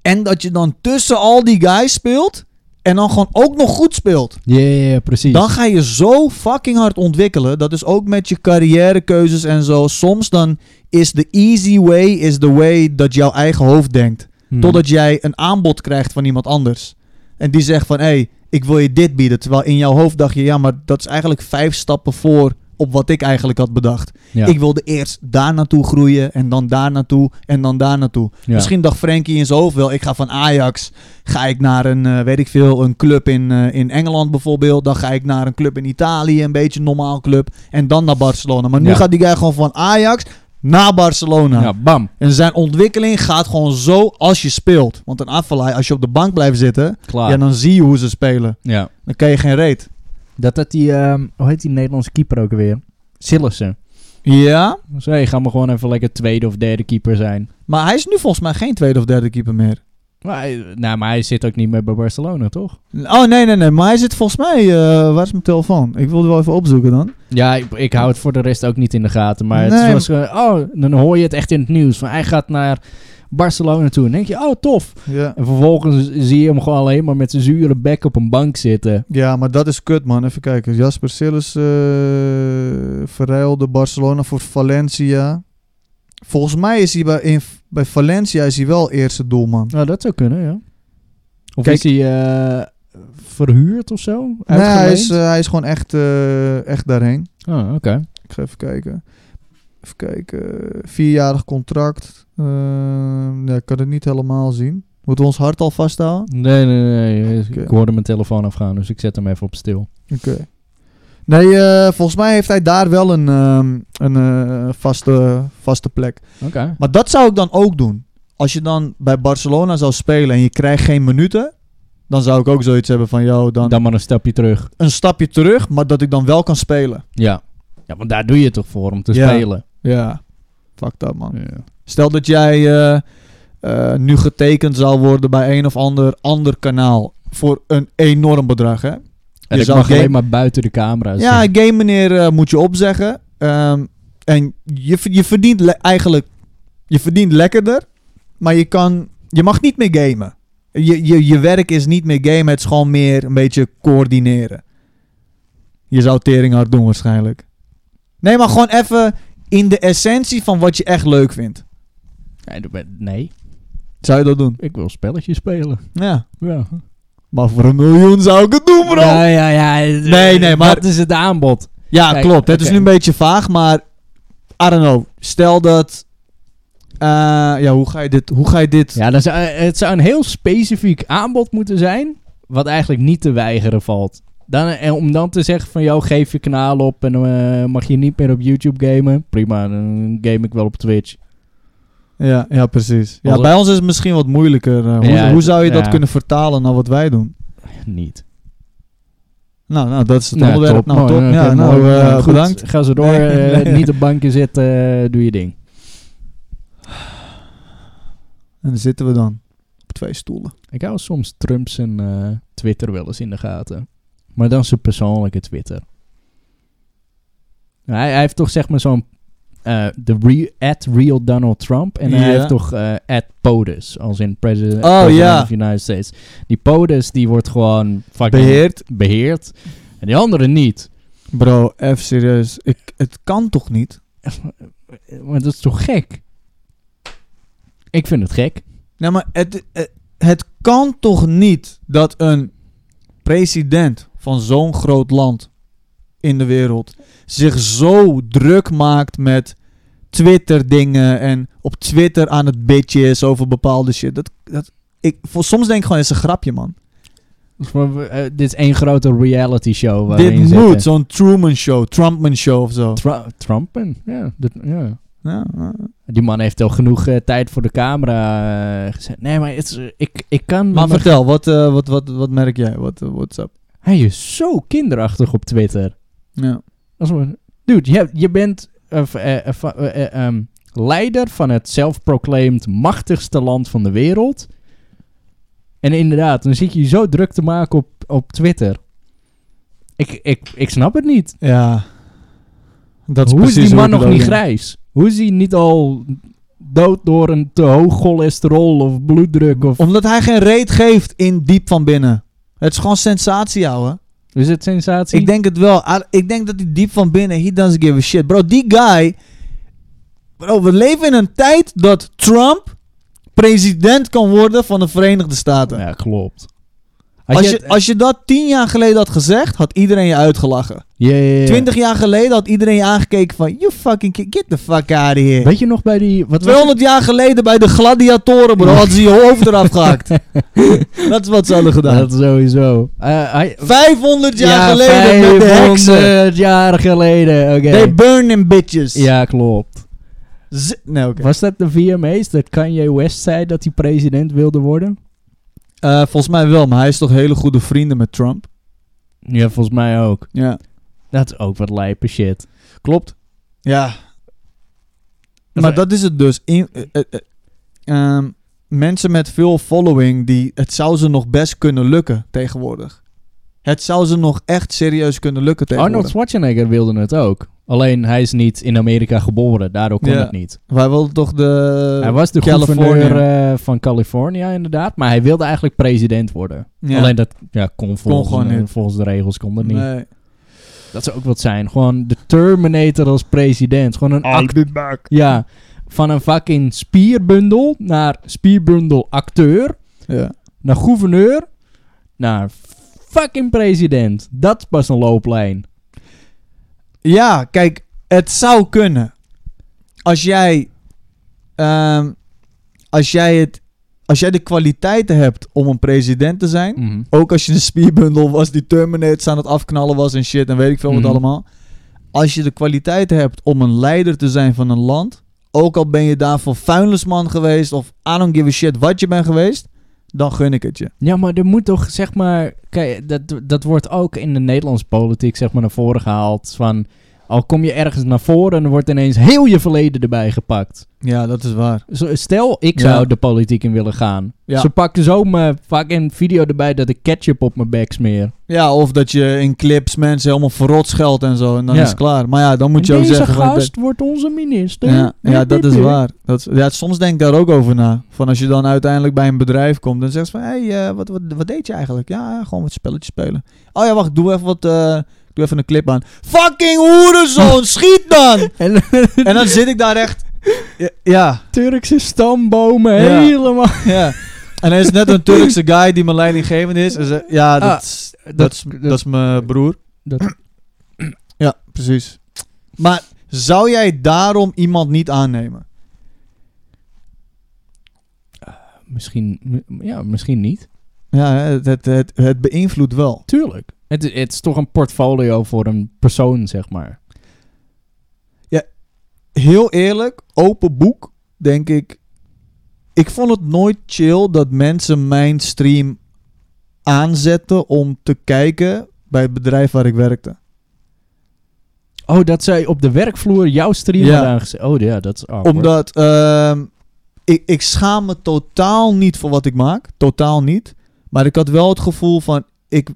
Speaker 1: en dat je dan tussen al die guys speelt en dan gewoon ook nog goed speelt.
Speaker 2: Ja, ja, ja, precies.
Speaker 1: Dan ga je zo fucking hard ontwikkelen. Dat is ook met je carrièrekeuzes en zo. Soms dan is de easy way is the way dat jouw eigen hoofd denkt.
Speaker 2: Hmm.
Speaker 1: Totdat jij een aanbod krijgt van iemand anders. En die zegt van, hé, hey, ik wil je dit bieden. Terwijl in jouw hoofd dacht je, ja, maar dat is eigenlijk vijf stappen voor op wat ik eigenlijk had bedacht.
Speaker 2: Ja.
Speaker 1: Ik wilde eerst daar naartoe groeien en dan daar naartoe en dan daar naartoe.
Speaker 2: Ja.
Speaker 1: Misschien dacht Frankie in zijn hoofd wel, ik ga van Ajax, ga ik naar een, eh, weet ik veel, een club in, eh, in Engeland bijvoorbeeld. Dan ga ik naar een club in Italië, een beetje een normaal club. En dan naar Barcelona. Maar nu
Speaker 2: Ja.
Speaker 1: gaat die guy gewoon van Ajax naar Barcelona.
Speaker 2: Ja, bam.
Speaker 1: En zijn ontwikkeling gaat gewoon zo als je speelt. Want een afvallei, als je op de bank blijft zitten,
Speaker 2: Klaar.
Speaker 1: ja, dan zie je hoe ze spelen.
Speaker 2: ja.
Speaker 1: Dan kan je geen reet.
Speaker 2: Dat dat die, ehm, hoe heet die Nederlandse keeper ook weer? Sillessen.
Speaker 1: Ja,
Speaker 2: Dus hey, ga maar gewoon even lekker tweede of derde keeper zijn.
Speaker 1: maar hij is nu volgens mij geen tweede of derde keeper meer.
Speaker 2: Maar hij, nou, maar hij zit ook niet meer bij Barcelona, toch?
Speaker 1: Oh, nee, nee, nee. Maar hij zit volgens mij... eh, waar is mijn telefoon? Ik wilde wel even opzoeken dan.
Speaker 2: Ja, ik, ik hou het voor de rest ook niet in de gaten. Maar
Speaker 1: Nee,
Speaker 2: het was gewoon, oh, dan hoor je het echt in het nieuws. Van hij gaat naar Barcelona toe. En denk je, oh, tof.
Speaker 1: Ja.
Speaker 2: En vervolgens zie je hem gewoon alleen maar met zijn zure bek op een bank zitten.
Speaker 1: Ja, maar dat is kut, man. Even kijken. Jasper Sillis eh verruilde Barcelona voor Valencia. Volgens mij is hij bij, in, bij Valencia is hij wel eerste doelman.
Speaker 2: Nou, dat zou kunnen, ja. Of
Speaker 1: Kijk-
Speaker 2: is hij eh, verhuurd of zo?
Speaker 1: Nee, hij
Speaker 2: Uitgeleend?
Speaker 1: is, eh, hij is gewoon echt, eh, echt daarheen.
Speaker 2: Oh, oké.
Speaker 1: Ik ga even kijken. Even kijken. Vierjarig contract. Ehm, ja, ik kan het niet helemaal zien. Moeten we ons hart al vasthouden?
Speaker 2: Nee, nee, nee.
Speaker 1: Oké.
Speaker 2: Ik hoorde mijn telefoon afgaan, dus ik zet hem even op stil.
Speaker 1: Oké. Nee, eh, volgens mij heeft hij daar wel een, ehm, een eh, vaste, vaste plek.
Speaker 2: Oké.
Speaker 1: Maar dat zou ik dan ook doen. Als je dan bij Barcelona zou spelen en je krijgt geen minuten... dan zou ik ook zoiets hebben van... Yo, dan,
Speaker 2: Dan maar een stapje terug.
Speaker 1: een stapje terug, maar dat ik dan wel kan spelen.
Speaker 2: Ja. Ja, want daar doe je het toch voor om te
Speaker 1: Ja.
Speaker 2: spelen.
Speaker 1: Ja. Fuck dat, man.
Speaker 2: Ja.
Speaker 1: Stel dat jij eh, eh, nu getekend zou worden bij een of ander, ander kanaal... voor een enorm bedrag, hè?
Speaker 2: En
Speaker 1: Je
Speaker 2: ik
Speaker 1: zou
Speaker 2: mag
Speaker 1: geen-
Speaker 2: alleen maar buiten de camera
Speaker 1: Ja,
Speaker 2: zitten.
Speaker 1: game meneer eh, moet je opzeggen. Ehm, en je, ver- je verdient le- eigenlijk... Je verdient lekkerder, maar je kan... Je mag niet meer gamen. Je, je, je werk is niet meer gamen, het is gewoon meer een beetje coördineren. Je zou tering hard doen waarschijnlijk. Nee, maar gewoon even in de essentie van wat je echt leuk vindt.
Speaker 2: Nee, dat ben- Nee,
Speaker 1: Zou je dat doen?
Speaker 2: ik wil spelletjes spelen.
Speaker 1: Ja.
Speaker 2: Ja.
Speaker 1: Maar voor een miljoen zou ik het doen, bro.
Speaker 2: Ja, ja, ja.
Speaker 1: Nee, nee, maar-
Speaker 2: Dat is het aanbod.
Speaker 1: Ja,
Speaker 2: Kijk,
Speaker 1: klopt. Het is
Speaker 2: oké.
Speaker 1: nu een beetje vaag, maar I don't know. Stel dat. eh, ja, hoe ga je dit? Hoe ga je dit?
Speaker 2: Ja, dan zou, het zou een heel specifiek aanbod moeten zijn... wat eigenlijk niet te weigeren valt. Dan, en om dan te zeggen van... joh, geef je kanaal op en eh, mag je niet meer op YouTube gamen. Prima, dan game ik wel op Twitch.
Speaker 1: Ja, ja precies. Ja,
Speaker 2: Als-
Speaker 1: bij ons is het misschien wat moeilijker. eh, hoe,
Speaker 2: Ja,
Speaker 1: hoe zou je dat
Speaker 2: ja.
Speaker 1: kunnen vertalen naar wat wij doen?
Speaker 2: Niet.
Speaker 1: Nou, nou dat is het
Speaker 2: Nou,
Speaker 1: onderwerp.
Speaker 2: top.
Speaker 1: nou,
Speaker 2: Mooi,
Speaker 1: top.
Speaker 2: oké,
Speaker 1: ja, nou,
Speaker 2: mooi.
Speaker 1: eh,
Speaker 2: Goed,
Speaker 1: bedankt.
Speaker 2: Ga zo door.
Speaker 1: Nee,
Speaker 2: eh,
Speaker 1: nee.
Speaker 2: Niet op bankje zitten. eh, doe je ding.
Speaker 1: En dan zitten we dan op twee stoelen.
Speaker 2: Ik hou soms Trump zijn eh, Twitter wel eens in de gaten. Maar dan zijn persoonlijke Twitter. Nou, Hij, hij heeft toch zeg maar zo'n... eh, de re at real Donald Trump. En hij
Speaker 1: Ja.
Speaker 2: heeft toch eh at POTUS. Als in president,
Speaker 1: Oh,
Speaker 2: president
Speaker 1: ja.
Speaker 2: of the United States. Die POTUS die wordt gewoon fucking
Speaker 1: Beheerd.
Speaker 2: beheerd. En die andere niet.
Speaker 1: Bro, even serieus. Ik, het kan toch niet?
Speaker 2: Maar dat is toch gek? Ik vind het gek.
Speaker 1: Nee, Nou, maar het, het, het kan toch niet dat een president van zo'n groot land in de wereld zich zo druk maakt met Twitter-dingen en op Twitter aan het bitchen is over bepaalde shit. Dat, dat, ik, voor, soms denk ik gewoon, het is een grapje, man.
Speaker 2: Dus maar, eh, dit is één grote reality show. waarin
Speaker 1: Dit
Speaker 2: ze-
Speaker 1: moet, zo'n Truman-show, Trumpman-show of zo.
Speaker 2: Tru- Trumpen, ja, dat- ja.
Speaker 1: Ja, ja.
Speaker 2: Die man heeft al genoeg eh, tijd voor de camera eh, gezet. Nee, maar het is, eh, ik, ik kan...
Speaker 1: Maar
Speaker 2: me-
Speaker 1: vertel, wat, eh, wat, wat, wat merk jij? Wat, eh, what's up?
Speaker 2: Hij is zo kinderachtig op Twitter.
Speaker 1: Ja.
Speaker 2: Als we- dude, je, je bent eh, v- eh, eh, va- eh, eh, ehm, leider van het zelfproclaimed machtigste land van de wereld. En inderdaad, dan zit je je zo druk te maken op, op Twitter. Ik, ik, ik snap het niet.
Speaker 1: ja. Dat is
Speaker 2: hoe is
Speaker 1: precies
Speaker 2: die man
Speaker 1: ik het
Speaker 2: nog
Speaker 1: ook
Speaker 2: niet
Speaker 1: denk.
Speaker 2: grijs? Hoe is hij niet al dood door een te hoog cholesterol of bloeddruk? Of...
Speaker 1: Omdat hij geen reet geeft in diep van binnen. Het is gewoon sensatie, ouwe.
Speaker 2: Is het sensatie?
Speaker 1: Ik denk het wel. Ah, Ik denk dat hij diep van binnen, he doesn't give a shit. Bro, die guy... Bro, we leven in een tijd dat Trump president kan worden van de Verenigde Staten.
Speaker 2: Ja, klopt. Als,
Speaker 1: Als
Speaker 2: je...
Speaker 1: je, als je dat tien jaar geleden had gezegd, had iedereen je uitgelachen.
Speaker 2: Ja, ja, ja.
Speaker 1: Twintig jaar geleden had iedereen je aangekeken van... You fucking kid, get the fuck out of here.
Speaker 2: Weet je nog bij die... Wat was
Speaker 1: 200 jaar geleden bij de gladiatoren, bro, hadden ze je hoofd eraf gehakt. dat is wat ze hadden
Speaker 2: het?
Speaker 1: gedaan.
Speaker 2: Dat sowieso. Eh, hij...
Speaker 1: 500 jaar
Speaker 2: Ja,
Speaker 1: geleden met de heksen.
Speaker 2: 500 jaar geleden. Oké.
Speaker 1: They burn them bitches.
Speaker 2: Ja, klopt.
Speaker 1: Z- nee, oké.
Speaker 2: Was dat de VMA's dat Kanye West zei dat hij president wilde worden?
Speaker 1: Eh, volgens mij wel, maar hij is toch hele goede vrienden met Trump?
Speaker 2: Ja, volgens mij ook.
Speaker 1: Ja.
Speaker 2: Dat is ook wat lijpe shit.
Speaker 1: Klopt. Ja. Maar dat is het dus. In- eh, eh, eh, ehm, mensen met veel following, die, het zou ze nog best kunnen lukken tegenwoordig. Het zou ze nog echt serieus kunnen lukken tegenwoordig.
Speaker 2: Arnold Schwarzenegger wilde het ook. Alleen hij is niet in Amerika geboren, daardoor kon
Speaker 1: Ja. eh,
Speaker 2: het niet.
Speaker 1: Wij wilden toch de...
Speaker 2: hij was de
Speaker 1: Californië.
Speaker 2: gouverneur eh, van California inderdaad, maar hij wilde eigenlijk president worden.
Speaker 1: Ja.
Speaker 2: Alleen dat ja, kon, volgens,
Speaker 1: gewoon
Speaker 2: eh,
Speaker 1: niet.
Speaker 2: volgens de regels kon dat niet.
Speaker 1: Nee.
Speaker 2: Dat zou ook wat zijn. Gewoon de Terminator als president. Gewoon een act- ja, van een fucking spierbundel naar spierbundel acteur,
Speaker 1: Ja.
Speaker 2: naar gouverneur, naar fucking president. Dat is pas een looplijn.
Speaker 1: Ja, kijk, het zou kunnen. Als jij, ehm, als jij het als jij de kwaliteiten hebt om een president te zijn,
Speaker 2: Mhm.
Speaker 1: ook als je een spierbundel was die Terminator aan het afknallen was en shit en weet ik veel
Speaker 2: Mhm.
Speaker 1: wat allemaal. Als je de kwaliteiten hebt om een leider te zijn van een land, ook al ben je daarvoor vuilnisman geweest of I don't give a shit wat je bent geweest, dan gun ik het je.
Speaker 2: Ja, maar er moet toch, zeg maar... Kijk, dat, dat wordt ook in de Nederlandse politiek, zeg maar, naar voren gehaald. Van, al kom je ergens naar voren, dan wordt ineens heel je verleden erbij gepakt.
Speaker 1: Ja, dat is waar.
Speaker 2: Zo- Stel, ik
Speaker 1: Ja.
Speaker 2: zou de politiek in willen gaan.
Speaker 1: Ja.
Speaker 2: Ze pakken zo mijn fucking video erbij dat ik ketchup op mijn bek smeer.
Speaker 1: Ja, of dat je in clips mensen helemaal verrot scheldt en zo en dan
Speaker 2: Ja.
Speaker 1: is het klaar. Maar ja, dan moet je
Speaker 2: En
Speaker 1: ook
Speaker 2: deze
Speaker 1: zeggen... van,
Speaker 2: gast wordt onze minister.
Speaker 1: Ja, ja,
Speaker 2: Hup,
Speaker 1: dat
Speaker 2: hup,
Speaker 1: is
Speaker 2: hup.
Speaker 1: waar. Dat, is- ja, soms denk ik daar ook over na. Van als je dan uiteindelijk bij een bedrijf komt en zegt van... Hé, hey, eh, wat, wat, wat deed je eigenlijk? Ja, ja, gewoon wat spelletjes spelen. Oh ja, wacht, doe even wat... eh, doe even een clip aan. Fucking hoerenzoon, schiet dan!
Speaker 2: En
Speaker 1: En dan zit ik daar echt... Ja, ja.
Speaker 2: Turkse stambomen,
Speaker 1: Ja.
Speaker 2: helemaal.
Speaker 1: ja. En er is net een Turkse guy die mijn leidinggevende is. En ze, ja, dat,
Speaker 2: Ah,
Speaker 1: is-
Speaker 2: dat-
Speaker 1: dat, is- dat is mijn broer.
Speaker 2: Dat-
Speaker 1: Ja, precies. Maar zou jij daarom iemand niet aannemen?
Speaker 2: Misschien, m- ja, misschien niet.
Speaker 1: Ja, het, het, het, het beïnvloedt wel.
Speaker 2: Tuurlijk. Het, is- het is toch een portfolio voor een persoon, zeg maar.
Speaker 1: Heel eerlijk, open boek, denk ik. Ik vond het nooit chill dat mensen mijn stream aanzetten om te kijken bij het bedrijf waar ik werkte.
Speaker 2: Oh, dat zij op de werkvloer jouw stream
Speaker 1: Ja.
Speaker 2: hadden aangezet. Oh ja, dat is awkward.
Speaker 1: Omdat ehm, ik, ik schaam me totaal niet voor wat ik maak. Totaal niet. Maar ik had wel het gevoel van, ik,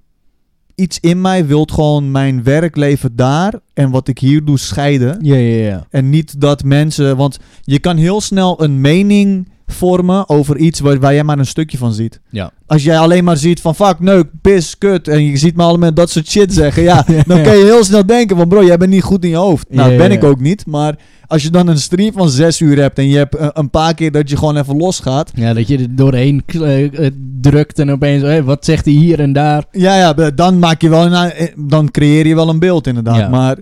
Speaker 1: iets in mij wil gewoon mijn werkleven daar en wat ik hier doe scheiden.
Speaker 2: Ja, ja, ja.
Speaker 1: En niet dat mensen. Want je kan heel snel een mening vormen over iets waar, waar jij maar een stukje van ziet.
Speaker 2: Ja.
Speaker 1: Als jij alleen maar ziet van fuck, neuk, pis, kut. En je ziet me allemaal dat soort shit zeggen. Ja, dan kan je heel snel denken van bro, jij bent niet goed in je hoofd. Nou,
Speaker 2: Ja,
Speaker 1: dat
Speaker 2: ja,
Speaker 1: ben
Speaker 2: ja.
Speaker 1: ik ook niet. Maar als je dan een stream van zes uur hebt en je hebt eh, een paar keer dat je gewoon even losgaat.
Speaker 2: Ja, dat je er doorheen eh, eh, drukt en opeens, hé, wat zegt hij hier en daar?
Speaker 1: Ja, ja, be- dan maak je wel een, eh, dan creëer je wel een beeld inderdaad.
Speaker 2: Ja.
Speaker 1: Maar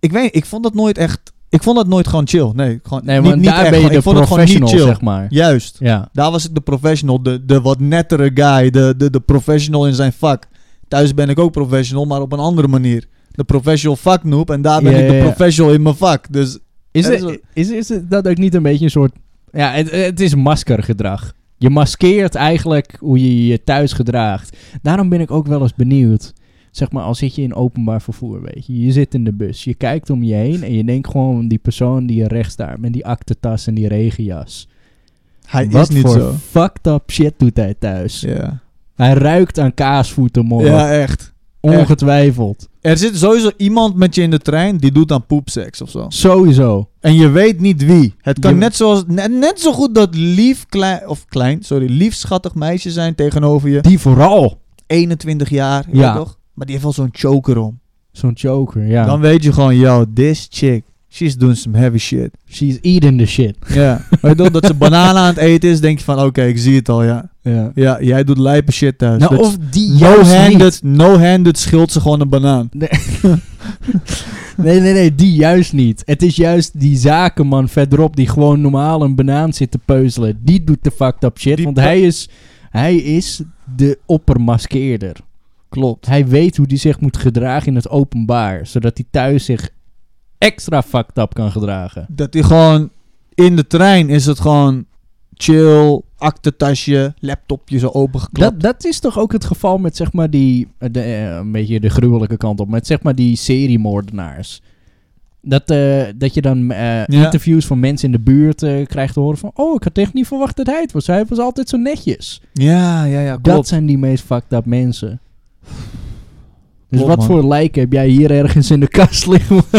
Speaker 1: ik weet, ik vond dat nooit echt. Ik vond dat nooit gewoon chill. Nee, gewoon
Speaker 2: Nee,
Speaker 1: niet,
Speaker 2: want
Speaker 1: niet
Speaker 2: daar
Speaker 1: echt.
Speaker 2: ben je
Speaker 1: gewoon-
Speaker 2: de
Speaker 1: ik vond het gewoon niet
Speaker 2: professional,
Speaker 1: chill.
Speaker 2: zeg maar.
Speaker 1: Juist.
Speaker 2: Ja.
Speaker 1: Daar was ik de professional, de, de wat nettere guy, de, de, de professional in zijn vak. Thuis ben ik ook professional, maar op een andere manier. De professional vak noob en daar ben
Speaker 2: Ja,
Speaker 1: ik de
Speaker 2: ja, ja.
Speaker 1: professional in mijn vak. Dus
Speaker 2: Is,
Speaker 1: Er is
Speaker 2: het- is, is het dat ook niet een beetje een soort... Ja, het, het is maskergedrag. Je maskeert eigenlijk hoe je je thuis gedraagt. Daarom ben ik ook wel eens benieuwd. Zeg maar, al zit je in openbaar vervoer, weet je. Je zit in de bus, je kijkt om je heen... en je denkt gewoon die persoon die rechts daar... met die aktentas en die regenjas.
Speaker 1: hij
Speaker 2: Wat
Speaker 1: is niet
Speaker 2: voor
Speaker 1: zo.
Speaker 2: fucked up shit doet hij thuis?
Speaker 1: Ja.
Speaker 2: Hij ruikt aan kaasvoeten, morgen.
Speaker 1: ja, echt.
Speaker 2: Ongetwijfeld.
Speaker 1: Er zit sowieso iemand met je in de trein die doet aan poepseks of zo.
Speaker 2: Sowieso.
Speaker 1: En je weet niet wie. Het kan
Speaker 2: Je-
Speaker 1: net, zoals, net, net zo goed dat lief klein, of klein, sorry, lief schattig meisje zijn tegenover je.
Speaker 2: Die vooral.
Speaker 1: 21 jaar,
Speaker 2: Ja.
Speaker 1: ja. toch? Maar die heeft wel zo'n choker om.
Speaker 2: Zo'n choker, ja.
Speaker 1: Dan weet je gewoon, yo, this chick, she's doing some heavy shit.
Speaker 2: She's eating the shit.
Speaker 1: Ja, weet je wel, dat ze bananen aan het eten is, denk je van, oké, ik zie het al, ja.
Speaker 2: Ja.
Speaker 1: Ja, jij doet lijpe shit thuis.
Speaker 2: Nou,
Speaker 1: Dat-
Speaker 2: of die juist niet.
Speaker 1: no-handed, no-handed schilt ze gewoon een banaan.
Speaker 2: Nee, nee, nee, die juist niet. Het is juist die zakenman verderop die gewoon normaal een banaan zit te peuzelen. Die doet de fucked up shit,
Speaker 1: Die
Speaker 2: want
Speaker 1: pa-
Speaker 2: hij is, hij is de oppermaskeerder.
Speaker 1: Klopt.
Speaker 2: Hij weet hoe hij zich moet gedragen in het openbaar, zodat hij thuis zich extra fucked up kan gedragen.
Speaker 1: Dat hij gewoon, in de trein is het gewoon chill, aktentasje, laptopje zo opengeklapt.
Speaker 2: Dat, dat is toch ook het geval met zeg maar die. eh, De, eh, een beetje de gruwelijke kant op. Met zeg maar die seriemoordenaars. Dat, eh, dat je dan eh, interviews van mensen in de buurt eh, krijgt te horen van. Oh, ik had echt niet verwacht dat hij het was. Hij was altijd zo netjes.
Speaker 1: Ja, ja, ja,
Speaker 2: Dat
Speaker 1: klopt.
Speaker 2: zijn die meest fucked up mensen. Dus
Speaker 1: Klopt,
Speaker 2: wat
Speaker 1: man.
Speaker 2: voor lijken heb jij hier ergens in de kast liggen?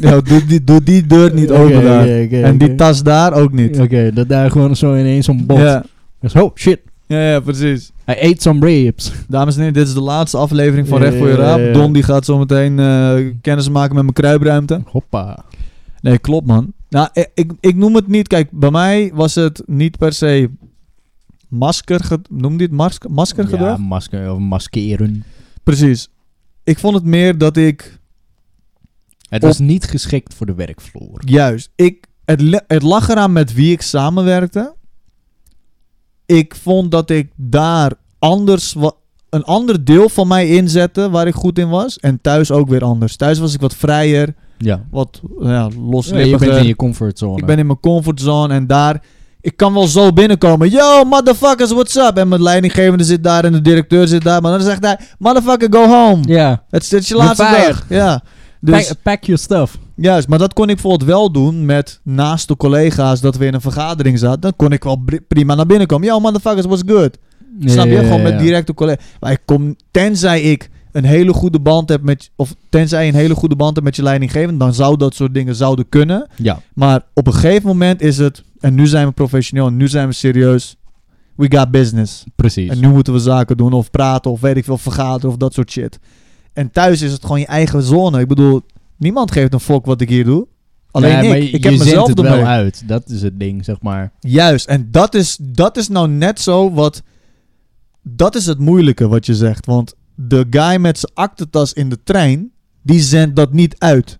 Speaker 1: Ja, doe, die, doe die deur niet open
Speaker 2: Oké,
Speaker 1: daar.
Speaker 2: oké, oké,
Speaker 1: en die
Speaker 2: oké.
Speaker 1: tas daar ook niet.
Speaker 2: Oké, dat daar gewoon zo ineens een bot.
Speaker 1: Ja.
Speaker 2: Dus, oh shit,
Speaker 1: Ja, ja, precies.
Speaker 2: hij ate some ribs.
Speaker 1: Dames en heren, dit is de laatste aflevering van
Speaker 2: Ja,
Speaker 1: Recht voor je
Speaker 2: ja, ja, ja.
Speaker 1: Raap. Don die gaat zo meteen eh, kennis maken met mijn kruipruimte.
Speaker 2: Hoppa.
Speaker 1: Nee, klopt man. Nou, ik, ik, ik noem het niet. Kijk, bij mij was het niet per se masker. Noem dit masker,
Speaker 2: Ja,
Speaker 1: maskergedrag?
Speaker 2: masker of maskeren.
Speaker 1: Precies. Ik vond het meer dat ik
Speaker 2: Het
Speaker 1: Op-
Speaker 2: was niet geschikt voor de werkvloer.
Speaker 1: juist. Ik, het, le- het lag eraan met wie ik samenwerkte. ik vond dat ik daar anders wa- een ander deel van mij inzette waar ik goed in was. En thuis ook weer anders. Thuis was ik wat vrijer,
Speaker 2: Ja.
Speaker 1: wat ja,
Speaker 2: je
Speaker 1: loslippiger.
Speaker 2: bent in je comfortzone.
Speaker 1: ik ben in mijn comfortzone en daar... Ik kan wel zo binnenkomen. Yo, motherfuckers, what's up? En mijn leidinggevende zit daar en de directeur zit daar. Maar dan zegt hij, motherfucker, go home.
Speaker 2: ja.
Speaker 1: Het, is- het is je
Speaker 2: We're
Speaker 1: laatste dag.
Speaker 2: fired.
Speaker 1: Ja.
Speaker 2: Pack-
Speaker 1: Dus,
Speaker 2: Pack, your stuff.
Speaker 1: Juist, maar dat kon ik bijvoorbeeld wel doen met naast de collega's dat we in een vergadering zaten. Dan kon ik wel bri- prima naar binnen komen. Yo, motherfuckers, what's good? Snap je?
Speaker 2: Ja, ja,
Speaker 1: Gewoon
Speaker 2: ja,
Speaker 1: met
Speaker 2: ja.
Speaker 1: directe collega's. Maar ik kom, tenzij ik een hele goede band heb met, of tenzij je een hele goede band hebt met je leidinggevende, dan zou dat soort dingen zouden kunnen.
Speaker 2: Ja.
Speaker 1: Maar op een gegeven moment is het, en nu zijn we professioneel, en nu zijn we serieus. We got business.
Speaker 2: Precies.
Speaker 1: En nu moeten we zaken doen of praten of weet ik veel, vergaderen of dat soort shit. En thuis is het gewoon je eigen zone. Ik bedoel, niemand geeft een fok wat ik hier doe. Alleen
Speaker 2: Nee, maar
Speaker 1: ik.
Speaker 2: je-
Speaker 1: Ik heb
Speaker 2: je zendt
Speaker 1: mezelf
Speaker 2: het wel
Speaker 1: ermee.
Speaker 2: uit. Dat is het ding, zeg maar.
Speaker 1: Juist. En dat is, dat is nou net zo wat... Dat is het moeilijke wat je zegt. Want de guy met zijn aktentas in de trein, die zendt dat niet uit.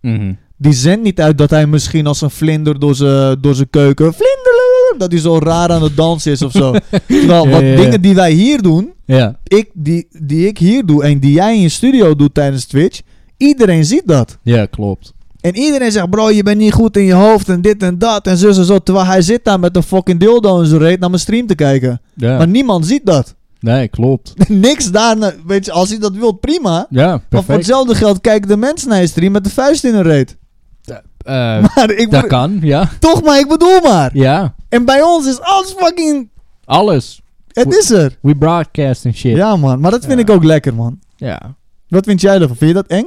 Speaker 1: Die zendt niet uit dat hij misschien als een vlinder door zijn door zijn keuken... Vlinderlulul, dat hij zo raar aan het dansen is of zo. Terwijl,
Speaker 2: Ja,
Speaker 1: wat
Speaker 2: ja, ja.
Speaker 1: dingen die wij hier doen,
Speaker 2: Ja.
Speaker 1: ik, die, die ik hier doe en die jij in je studio doet tijdens Twitch, iedereen ziet dat.
Speaker 2: ja, klopt.
Speaker 1: En iedereen zegt, bro, je bent niet goed in je hoofd en dit en dat en zus en zo. Terwijl hij zit daar met een fucking dildo in zijn reet naar mijn stream te kijken.
Speaker 2: Ja.
Speaker 1: Maar niemand ziet dat.
Speaker 2: nee, klopt.
Speaker 1: Niks daarna. Weet je, als hij dat wil, prima.
Speaker 2: Ja,
Speaker 1: Maar voor
Speaker 2: perfect.
Speaker 1: hetzelfde geld kijken de mensen naar je stream met de vuist in hun reet.
Speaker 2: Eh,
Speaker 1: Maar ik
Speaker 2: dat
Speaker 1: bedo-
Speaker 2: kan, ja.
Speaker 1: toch maar, ik bedoel maar.
Speaker 2: Ja.
Speaker 1: En bij ons is alles fucking...
Speaker 2: Alles.
Speaker 1: Het is er.
Speaker 2: We broadcast en shit.
Speaker 1: Ja, man. Maar dat vind
Speaker 2: Ja.
Speaker 1: ik ook lekker, man.
Speaker 2: Ja.
Speaker 1: Wat vind jij ervan? Vind je dat eng?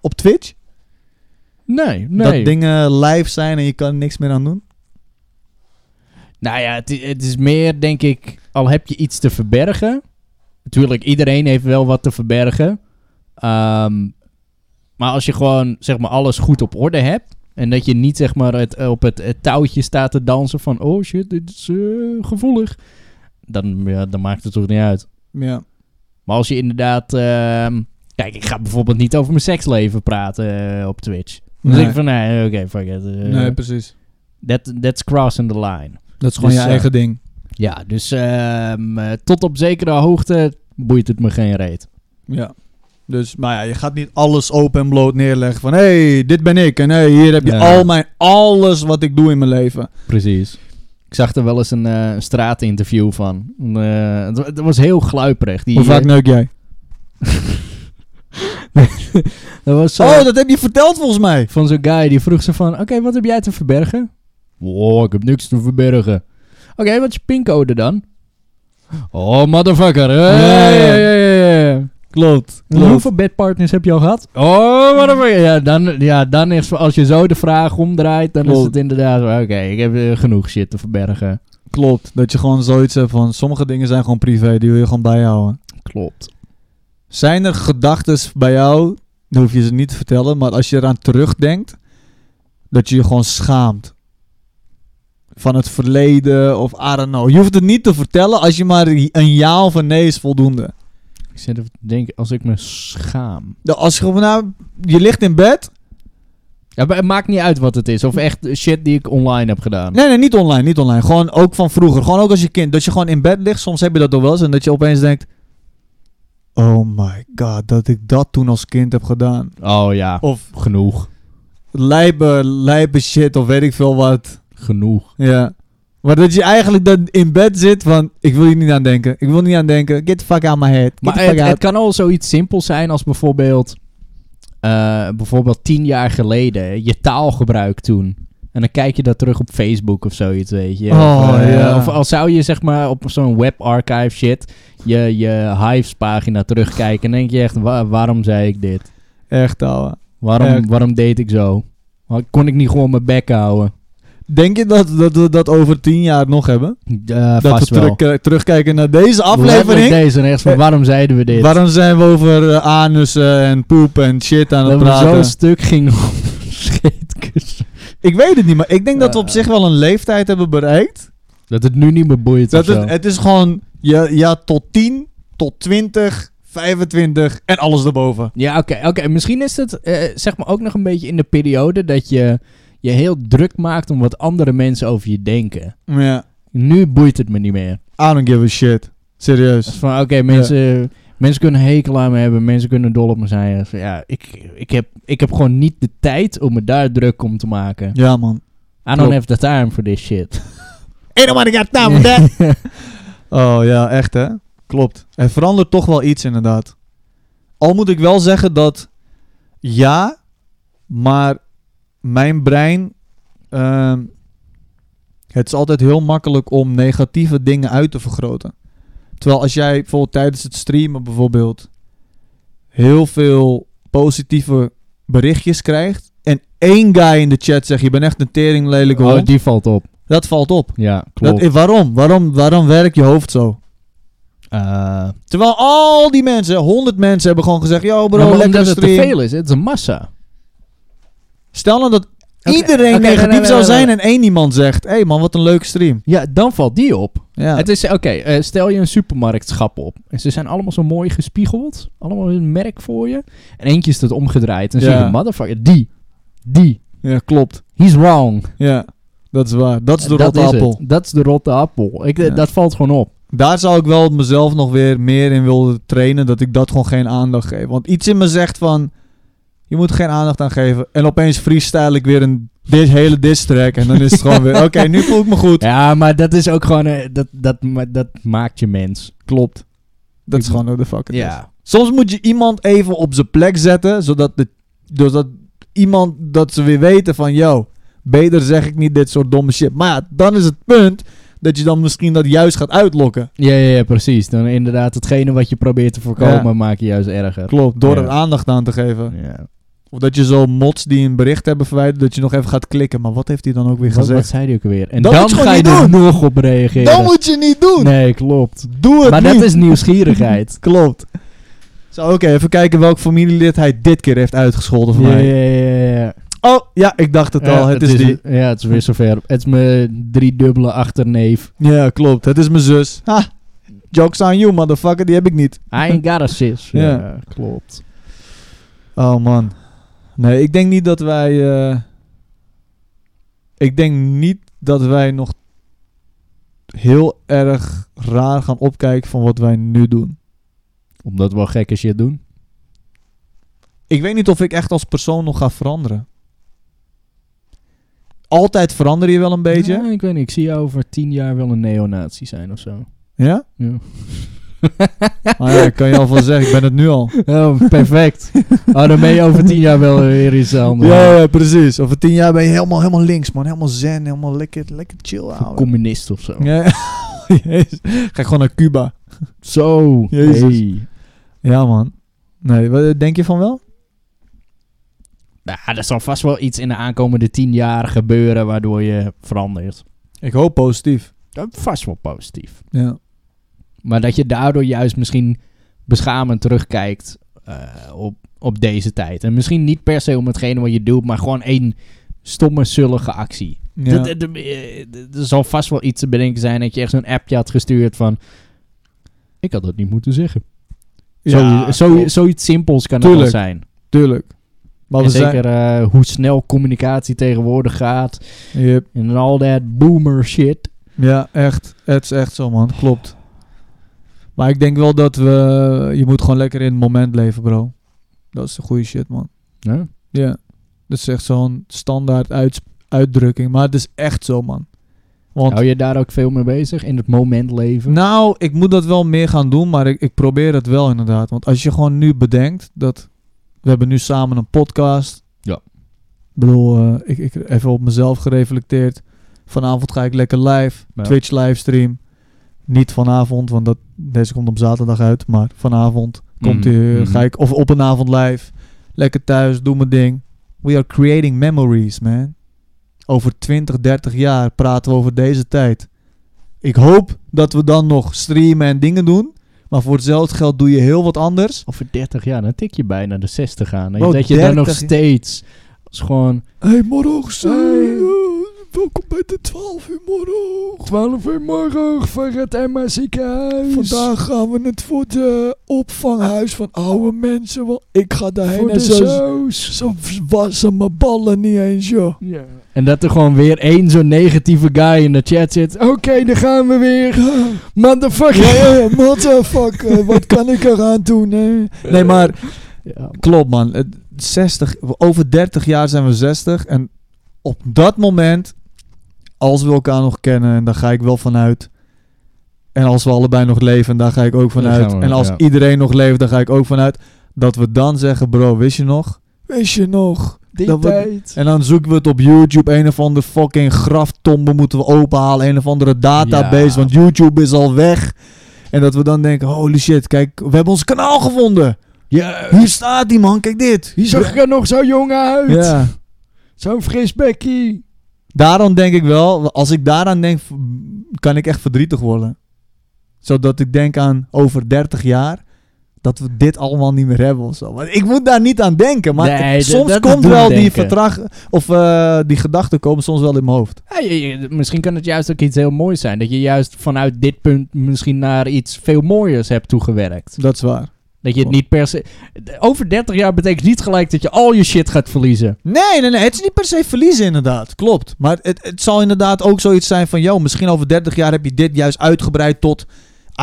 Speaker 1: Op Twitch?
Speaker 2: Nee, nee.
Speaker 1: Dat dingen live zijn en je kan er niks meer aan doen.
Speaker 2: Nou ja, het, i- het is meer, denk ik, al heb je iets te verbergen. Natuurlijk, iedereen heeft wel wat te verbergen. Ehm, maar als je gewoon, zeg maar, alles goed op orde hebt. En dat je niet, zeg maar, het, op het, het touwtje staat te dansen van... Oh shit, dit is eh, gevoelig. Dan, ja, dan maakt het toch niet uit.
Speaker 1: Ja.
Speaker 2: Maar als je inderdaad... ehm, kijk, ik ga bijvoorbeeld niet over mijn seksleven praten eh, op Twitch. Dan
Speaker 1: Nee.
Speaker 2: denk ik van, nee, oké, fuck it. eh,
Speaker 1: precies.
Speaker 2: that, that's crossing the line.
Speaker 1: Dat is
Speaker 2: gewoon je eigen
Speaker 1: ding.
Speaker 2: Ja, dus ehm, eh, tot op zekere hoogte boeit het me geen reet.
Speaker 1: Ja. Dus, maar ja, je gaat niet alles open en bloot neerleggen van... Hé, hey, dit ben ik en hey, hier heb je
Speaker 2: Nee.
Speaker 1: al mijn... Alles wat ik doe in mijn leven.
Speaker 2: Precies. Ik zag er wel eens een eh, straatinterview van. Een, eh, het, wa- het was heel gluiperig. Die,
Speaker 1: Hoe vaak
Speaker 2: eh,
Speaker 1: neuk jij?
Speaker 2: dat was zo,
Speaker 1: Oh, dat heb je verteld volgens mij.
Speaker 2: van zo'n guy die vroeg ze van... Oké, wat heb jij te verbergen? Oh, ik heb niks te verbergen. Oké, wat is je pincode dan? Oh, motherfucker. Hey,
Speaker 1: Ja.
Speaker 2: hey, hey, hey.
Speaker 1: Klopt.
Speaker 2: En Hoeveel bedpartners heb je al gehad? Oh, wat een... Ja, dan, ja, dan is... Als je zo de vraag omdraait, dan is
Speaker 1: Klopt.
Speaker 2: het inderdaad... Oké, ik heb eh, genoeg shit te verbergen.
Speaker 1: Klopt. Dat je gewoon zoiets hebt van... Sommige dingen zijn gewoon privé, die wil je gewoon bijhouden.
Speaker 2: Klopt.
Speaker 1: Zijn er gedachten bij jou... Dan hoef je ze niet te vertellen, maar als je eraan terugdenkt... Dat je je gewoon schaamt. Van het verleden of I don't know. Je hoeft het niet te vertellen als je maar een ja of een nee is voldoende.
Speaker 2: Ik zit even te denken, als ik me schaam...
Speaker 1: Nou, Als je gewoon, nou, je ligt in bed.
Speaker 2: Ja, maar het maakt niet uit wat het is. Of echt shit die ik online heb gedaan.
Speaker 1: Nee, nee, niet online, niet online. Gewoon ook van vroeger. Gewoon ook als je kind. Dat je gewoon in bed ligt. Soms heb je dat al wel eens. En dat je opeens denkt... Oh my god, dat ik dat toen als kind heb gedaan.
Speaker 2: Oh ja,
Speaker 1: Of
Speaker 2: genoeg.
Speaker 1: lijpe, lijpe shit of weet ik veel wat.
Speaker 2: Genoeg.
Speaker 1: Ja. Maar dat je eigenlijk dan in bed zit van... Ik wil hier niet aan denken. Ik wil niet aan denken. Get the fuck out my head. Get
Speaker 2: Maar
Speaker 1: the fuck
Speaker 2: het, het
Speaker 1: out.
Speaker 2: kan al zoiets simpels zijn als bijvoorbeeld... eh, bijvoorbeeld tien jaar geleden, je taalgebruik toen. En dan kijk je dat terug op Facebook of zoiets, weet je.
Speaker 1: Oh,
Speaker 2: of, eh,
Speaker 1: ja.
Speaker 2: of al zou je zeg maar op zo'n webarchive shit... je, je Hives-pagina terugkijken... en denk je echt, "Wa- waarom zei ik dit?
Speaker 1: Echt, ouwe.
Speaker 2: Waarom,
Speaker 1: Echt.
Speaker 2: waarom deed ik zo? Wa- Kon ik niet gewoon mijn bek houden?
Speaker 1: Denk je dat, dat we dat over tien jaar nog hebben?
Speaker 2: Eh
Speaker 1: dat we
Speaker 2: vast wel.
Speaker 1: terug- terugkijken naar deze
Speaker 2: Letterlijk
Speaker 1: aflevering?
Speaker 2: Deze en echt van,
Speaker 1: Eh,
Speaker 2: waarom zeiden we dit?
Speaker 1: Waarom zijn we over eh, anussen en poep en shit aan het
Speaker 2: dat we
Speaker 1: praten?
Speaker 2: zo'n stuk gingen op scheetkussen.
Speaker 1: Ik weet het niet, maar ik denk dat we op
Speaker 2: Eh.
Speaker 1: zich wel een leeftijd hebben bereikt.
Speaker 2: Dat het nu niet meer boeit
Speaker 1: Dat
Speaker 2: of zo.
Speaker 1: het, het is gewoon, ja, ja, tot 10, tot 20, 25 en alles erboven.
Speaker 2: Ja, oké. oké. Misschien is het eh, zeg maar ook nog een beetje in de periode dat je je heel druk maakt om wat andere mensen over je denken.
Speaker 1: Ja.
Speaker 2: Nu boeit het me niet meer.
Speaker 1: I don't give a shit.
Speaker 2: Dat
Speaker 1: Serieus.
Speaker 2: is van, oké, mensen, mensen kunnen een hekel aan me hebben, mensen kunnen dol op me zijn. Dat is van, ja, ik, ik, heb, ik heb gewoon niet de tijd om me daar druk om te maken.
Speaker 1: Ja, man.
Speaker 2: I don't
Speaker 1: klopt.
Speaker 2: have the time for this shit.
Speaker 1: Ain't nobody got time for that. Oh ja, echt hè? Klopt. Er verandert toch wel iets inderdaad. Al moet ik wel zeggen dat ja, maar mijn brein. ehm, het is altijd heel makkelijk om negatieve dingen uit te vergroten. Terwijl als jij bijvoorbeeld tijdens het streamen bijvoorbeeld heel veel positieve berichtjes krijgt. En één guy in de chat zegt: Je bent echt een tering lelijk
Speaker 2: oh,
Speaker 1: hond.
Speaker 2: die valt op.
Speaker 1: Dat valt op.
Speaker 2: Ja,
Speaker 1: Dat,
Speaker 2: klopt.
Speaker 1: eh, waarom? waarom? Waarom werkt je hoofd zo?
Speaker 2: Eh,
Speaker 1: Terwijl al die mensen, 100 mensen hebben gewoon gezegd: Yo bro,
Speaker 2: nou, maar
Speaker 1: lekker
Speaker 2: omdat het te
Speaker 1: stream.
Speaker 2: veel is, het is een massa.
Speaker 1: Stel nou dat
Speaker 2: Oké,
Speaker 1: iedereen
Speaker 2: oké, nee,
Speaker 1: negatief
Speaker 2: nee, nee,
Speaker 1: zou
Speaker 2: nee,
Speaker 1: zijn
Speaker 2: nee.
Speaker 1: en één iemand zegt: Hé hey man, wat een leuke stream.
Speaker 2: Ja, dan valt die op.
Speaker 1: Ja.
Speaker 2: Het is, oké, eh, stel je een supermarktschap op. En ze zijn allemaal zo mooi gespiegeld. Allemaal een merk voor je. En eentje is het omgedraaid. En dan
Speaker 1: Ja.
Speaker 2: zie je, motherfucker, die. Die.
Speaker 1: ja, klopt.
Speaker 2: He's wrong.
Speaker 1: Ja, dat is waar. Dat is de rotte
Speaker 2: is het.
Speaker 1: appel.
Speaker 2: Dat is de rotte appel. Ik, eh,
Speaker 1: Ja.
Speaker 2: Dat valt gewoon op.
Speaker 1: Daar zou ik wel mezelf nog weer meer in willen trainen, dat ik dat gewoon geen aandacht geef. Want iets in me zegt van: Je moet geen aandacht aan geven. En opeens freestyle ik weer een dit hele diss track. En dan is het gewoon weer: Oké, nu voel ik me goed.
Speaker 2: Ja, maar dat is ook gewoon... eh, dat, dat, ma- dat maakt je mens.
Speaker 1: Klopt. Dat is
Speaker 2: Ik-
Speaker 1: gewoon hoe de fuck het is.
Speaker 2: Ja.
Speaker 1: Soms moet je iemand even op zijn plek zetten, zodat, de, zodat iemand dat ze weer weten van, yo, beter zeg ik niet dit soort domme shit. Maar ja, dan is het punt dat je dan misschien dat juist gaat uitlokken.
Speaker 2: Ja, ja, ja, precies. Dan inderdaad, hetgene wat je probeert te voorkomen,
Speaker 1: Ja.
Speaker 2: maak je juist erger.
Speaker 1: Klopt, door
Speaker 2: Ja.
Speaker 1: er aandacht aan te geven.
Speaker 2: Ja.
Speaker 1: Of dat je zo mods die een bericht hebben verwijderd, dat je nog even gaat klikken. Maar wat heeft hij dan ook weer
Speaker 2: Wat, wat
Speaker 1: gezegd?
Speaker 2: zei die ook weer? En
Speaker 1: Dat
Speaker 2: dan
Speaker 1: moet je gewoon
Speaker 2: ga je
Speaker 1: niet
Speaker 2: er
Speaker 1: doen.
Speaker 2: nog op reageren.
Speaker 1: Dat moet je niet doen!
Speaker 2: Nee, klopt.
Speaker 1: Doe het
Speaker 2: Maar
Speaker 1: niet!
Speaker 2: dat is nieuwsgierigheid.
Speaker 1: Klopt. Zo, oké, even kijken welk familielid hij dit keer heeft uitgescholden voor
Speaker 2: ja,
Speaker 1: mij.
Speaker 2: ja, ja, ja, ja.
Speaker 1: Oh, ja, ik dacht het al.
Speaker 2: Ja,
Speaker 1: het, is, die.
Speaker 2: Ja, het is weer zover. Het is mijn driedubbele achterneef.
Speaker 1: Ja, klopt. Het is mijn zus. Ha! Jokes on you, motherfucker. Die heb ik niet.
Speaker 2: I ain't got a sis.
Speaker 1: Ja.
Speaker 2: klopt.
Speaker 1: Oh, man. Nee, ik denk niet dat wij... eh, ik denk niet dat wij nog heel erg raar gaan opkijken van wat wij nu doen.
Speaker 2: Omdat we wel gekke shit doen.
Speaker 1: Ik weet niet of ik echt als persoon nog ga veranderen. Altijd verander je wel een beetje.
Speaker 2: Ja, ik weet niet. Ik zie jou over tien jaar wel een neonazi zijn of zo.
Speaker 1: Ja?
Speaker 2: Ja.
Speaker 1: Ah ja, ik kan je al van zeggen. Ik ben het nu al.
Speaker 2: Oh, perfect. oh, dan ben je over tien jaar wel weer iets anders.
Speaker 1: Ja, ja, precies. Over tien jaar ben je helemaal, helemaal links, man. Helemaal zen. Helemaal lekker, lekker chill, ouwe.
Speaker 2: Communist of zo.
Speaker 1: Ja. Jezus. Ga ik gewoon naar Cuba.
Speaker 2: Zo.
Speaker 1: Jezus.
Speaker 2: Hey.
Speaker 1: Ja, man. Nee, wat eh, denk je van wel?
Speaker 2: Nou, er zal vast wel iets in de aankomende tien jaar gebeuren waardoor je verandert.
Speaker 1: Ik hoop positief.
Speaker 2: Dat is vast wel positief.
Speaker 1: Ja.
Speaker 2: Maar dat je daardoor juist misschien beschamend terugkijkt eh, op, op deze tijd. En misschien niet per se om hetgene wat je doet, maar gewoon één stomme, zullige actie.
Speaker 1: ja.
Speaker 2: Dat- dat- eh, dat- Er zal vast wel iets te bedenken zijn dat je echt zo'n appje had gestuurd van... Ik had dat niet moeten zeggen.
Speaker 1: Ja,
Speaker 2: zo, zo,
Speaker 1: klopt.
Speaker 2: zoiets simpels kan het
Speaker 1: Tuurlijk.
Speaker 2: wel zijn.
Speaker 1: Tuurlijk. Maar
Speaker 2: En
Speaker 1: we
Speaker 2: zeker eh, hoe snel communicatie tegenwoordig gaat.
Speaker 1: zijn... Yep.
Speaker 2: En al dat boomer shit.
Speaker 1: Ja, echt. Het is echt zo, man. Klopt. Maar ik denk wel dat we... Je moet gewoon lekker in het moment leven, bro. Dat is de goede shit, man.
Speaker 2: Ja.
Speaker 1: Ja. Dat is echt zo'n standaard uits- uitdrukking. Maar het is echt zo, man. Want
Speaker 2: Hou je daar ook veel mee bezig? In het moment leven?
Speaker 1: Nou, ik moet dat wel meer gaan doen, maar ik, ik probeer het wel inderdaad. Want als je gewoon nu bedenkt dat we hebben nu samen een podcast.
Speaker 2: Ja.
Speaker 1: Ik bedoel, eh, ik, ik even op mezelf gereflecteerd. Vanavond ga ik lekker live,
Speaker 2: Ja.
Speaker 1: Twitch livestream. Niet vanavond, want dat, deze komt op zaterdag uit. Maar vanavond komt
Speaker 2: Mhm,
Speaker 1: die, eh,
Speaker 2: mhm.
Speaker 1: ga ik of op een avond live. Lekker thuis, doe mijn ding. We are creating memories, man. Over 20, 30 jaar praten we over deze tijd. Ik hoop dat we dan nog streamen en dingen doen. Maar voor hetzelfde geld doe je heel wat anders.
Speaker 2: Over 30 jaar, dan tik je bijna de 60 aan. En
Speaker 1: Wow,
Speaker 2: dat je dan nog
Speaker 1: 30
Speaker 2: steeds. Dat is gewoon.
Speaker 1: Hé, hey, morgen.
Speaker 2: Hey.
Speaker 3: Welkom bij de 12 uur morgen. 12 uur morgen voor het MA ziekenhuis. Vandaag gaan we het voor de opvanghuis van oude mensen. Want ik ga daarheen
Speaker 4: Voor
Speaker 3: en
Speaker 4: de
Speaker 3: zo, zo wassen mijn ballen niet eens, joh.
Speaker 4: Ja.
Speaker 2: En dat er gewoon weer één zo'n negatieve guy in de chat zit. Oké, daar gaan we weer. Motherfucker.
Speaker 3: Ja, ja, ja, motherfucker. Wat kan ik eraan doen, hè?
Speaker 1: Nee, maar
Speaker 4: Ja.
Speaker 1: klopt man. Het- 60, over 30 jaar zijn we 60. En op dat moment, als we elkaar nog kennen, en daar ga ik wel vanuit. En als we allebei nog leven, en daar ga ik ook vanuit.
Speaker 2: gaan we,
Speaker 1: En als
Speaker 2: ja.
Speaker 1: iedereen nog leeft, daar ga ik ook vanuit. Dat we dan zeggen, bro, wist je nog?
Speaker 3: Weet je nog?
Speaker 4: Die
Speaker 1: Dat wordt-
Speaker 4: tijd.
Speaker 1: En dan zoeken we het op YouTube. Een of andere fucking graftombe moeten we openhalen. Een of andere database.
Speaker 2: Ja.
Speaker 1: Want YouTube is al weg. En dat we dan denken: holy shit, kijk, we hebben ons kanaal gevonden.
Speaker 4: Ja.
Speaker 1: Hier staat die man, kijk dit.
Speaker 4: Hier zag ik er nog zo jong uit.
Speaker 1: Ja.
Speaker 4: Zo'n fris bekkie.
Speaker 1: Daarom denk ik wel, als ik daaraan denk, v- kan ik echt verdrietig worden. Zodat ik denk aan over 30 jaar. Dat we dit allemaal niet meer hebben of zo. Want ik moet daar niet aan denken. Maar
Speaker 2: Nee,
Speaker 1: ik-
Speaker 2: dat-
Speaker 1: soms
Speaker 2: dat
Speaker 1: komt
Speaker 2: doen
Speaker 1: wel die
Speaker 2: denken.
Speaker 1: vertrag. Of eh, die gedachten komen soms wel in mijn hoofd.
Speaker 2: Ja, je- je- misschien kan het juist ook iets heel moois zijn. Dat je juist vanuit dit punt misschien naar iets veel mooiers hebt toegewerkt.
Speaker 1: Dat is waar.
Speaker 2: Dat je het niet per se... Over 30 jaar betekent niet gelijk dat je al je shit gaat verliezen.
Speaker 1: Nee, nee, nee. Het is niet per se verliezen, inderdaad. Klopt. Maar het, het zal inderdaad ook zoiets zijn van... ...joh, misschien over 30 jaar heb je dit juist uitgebreid tot...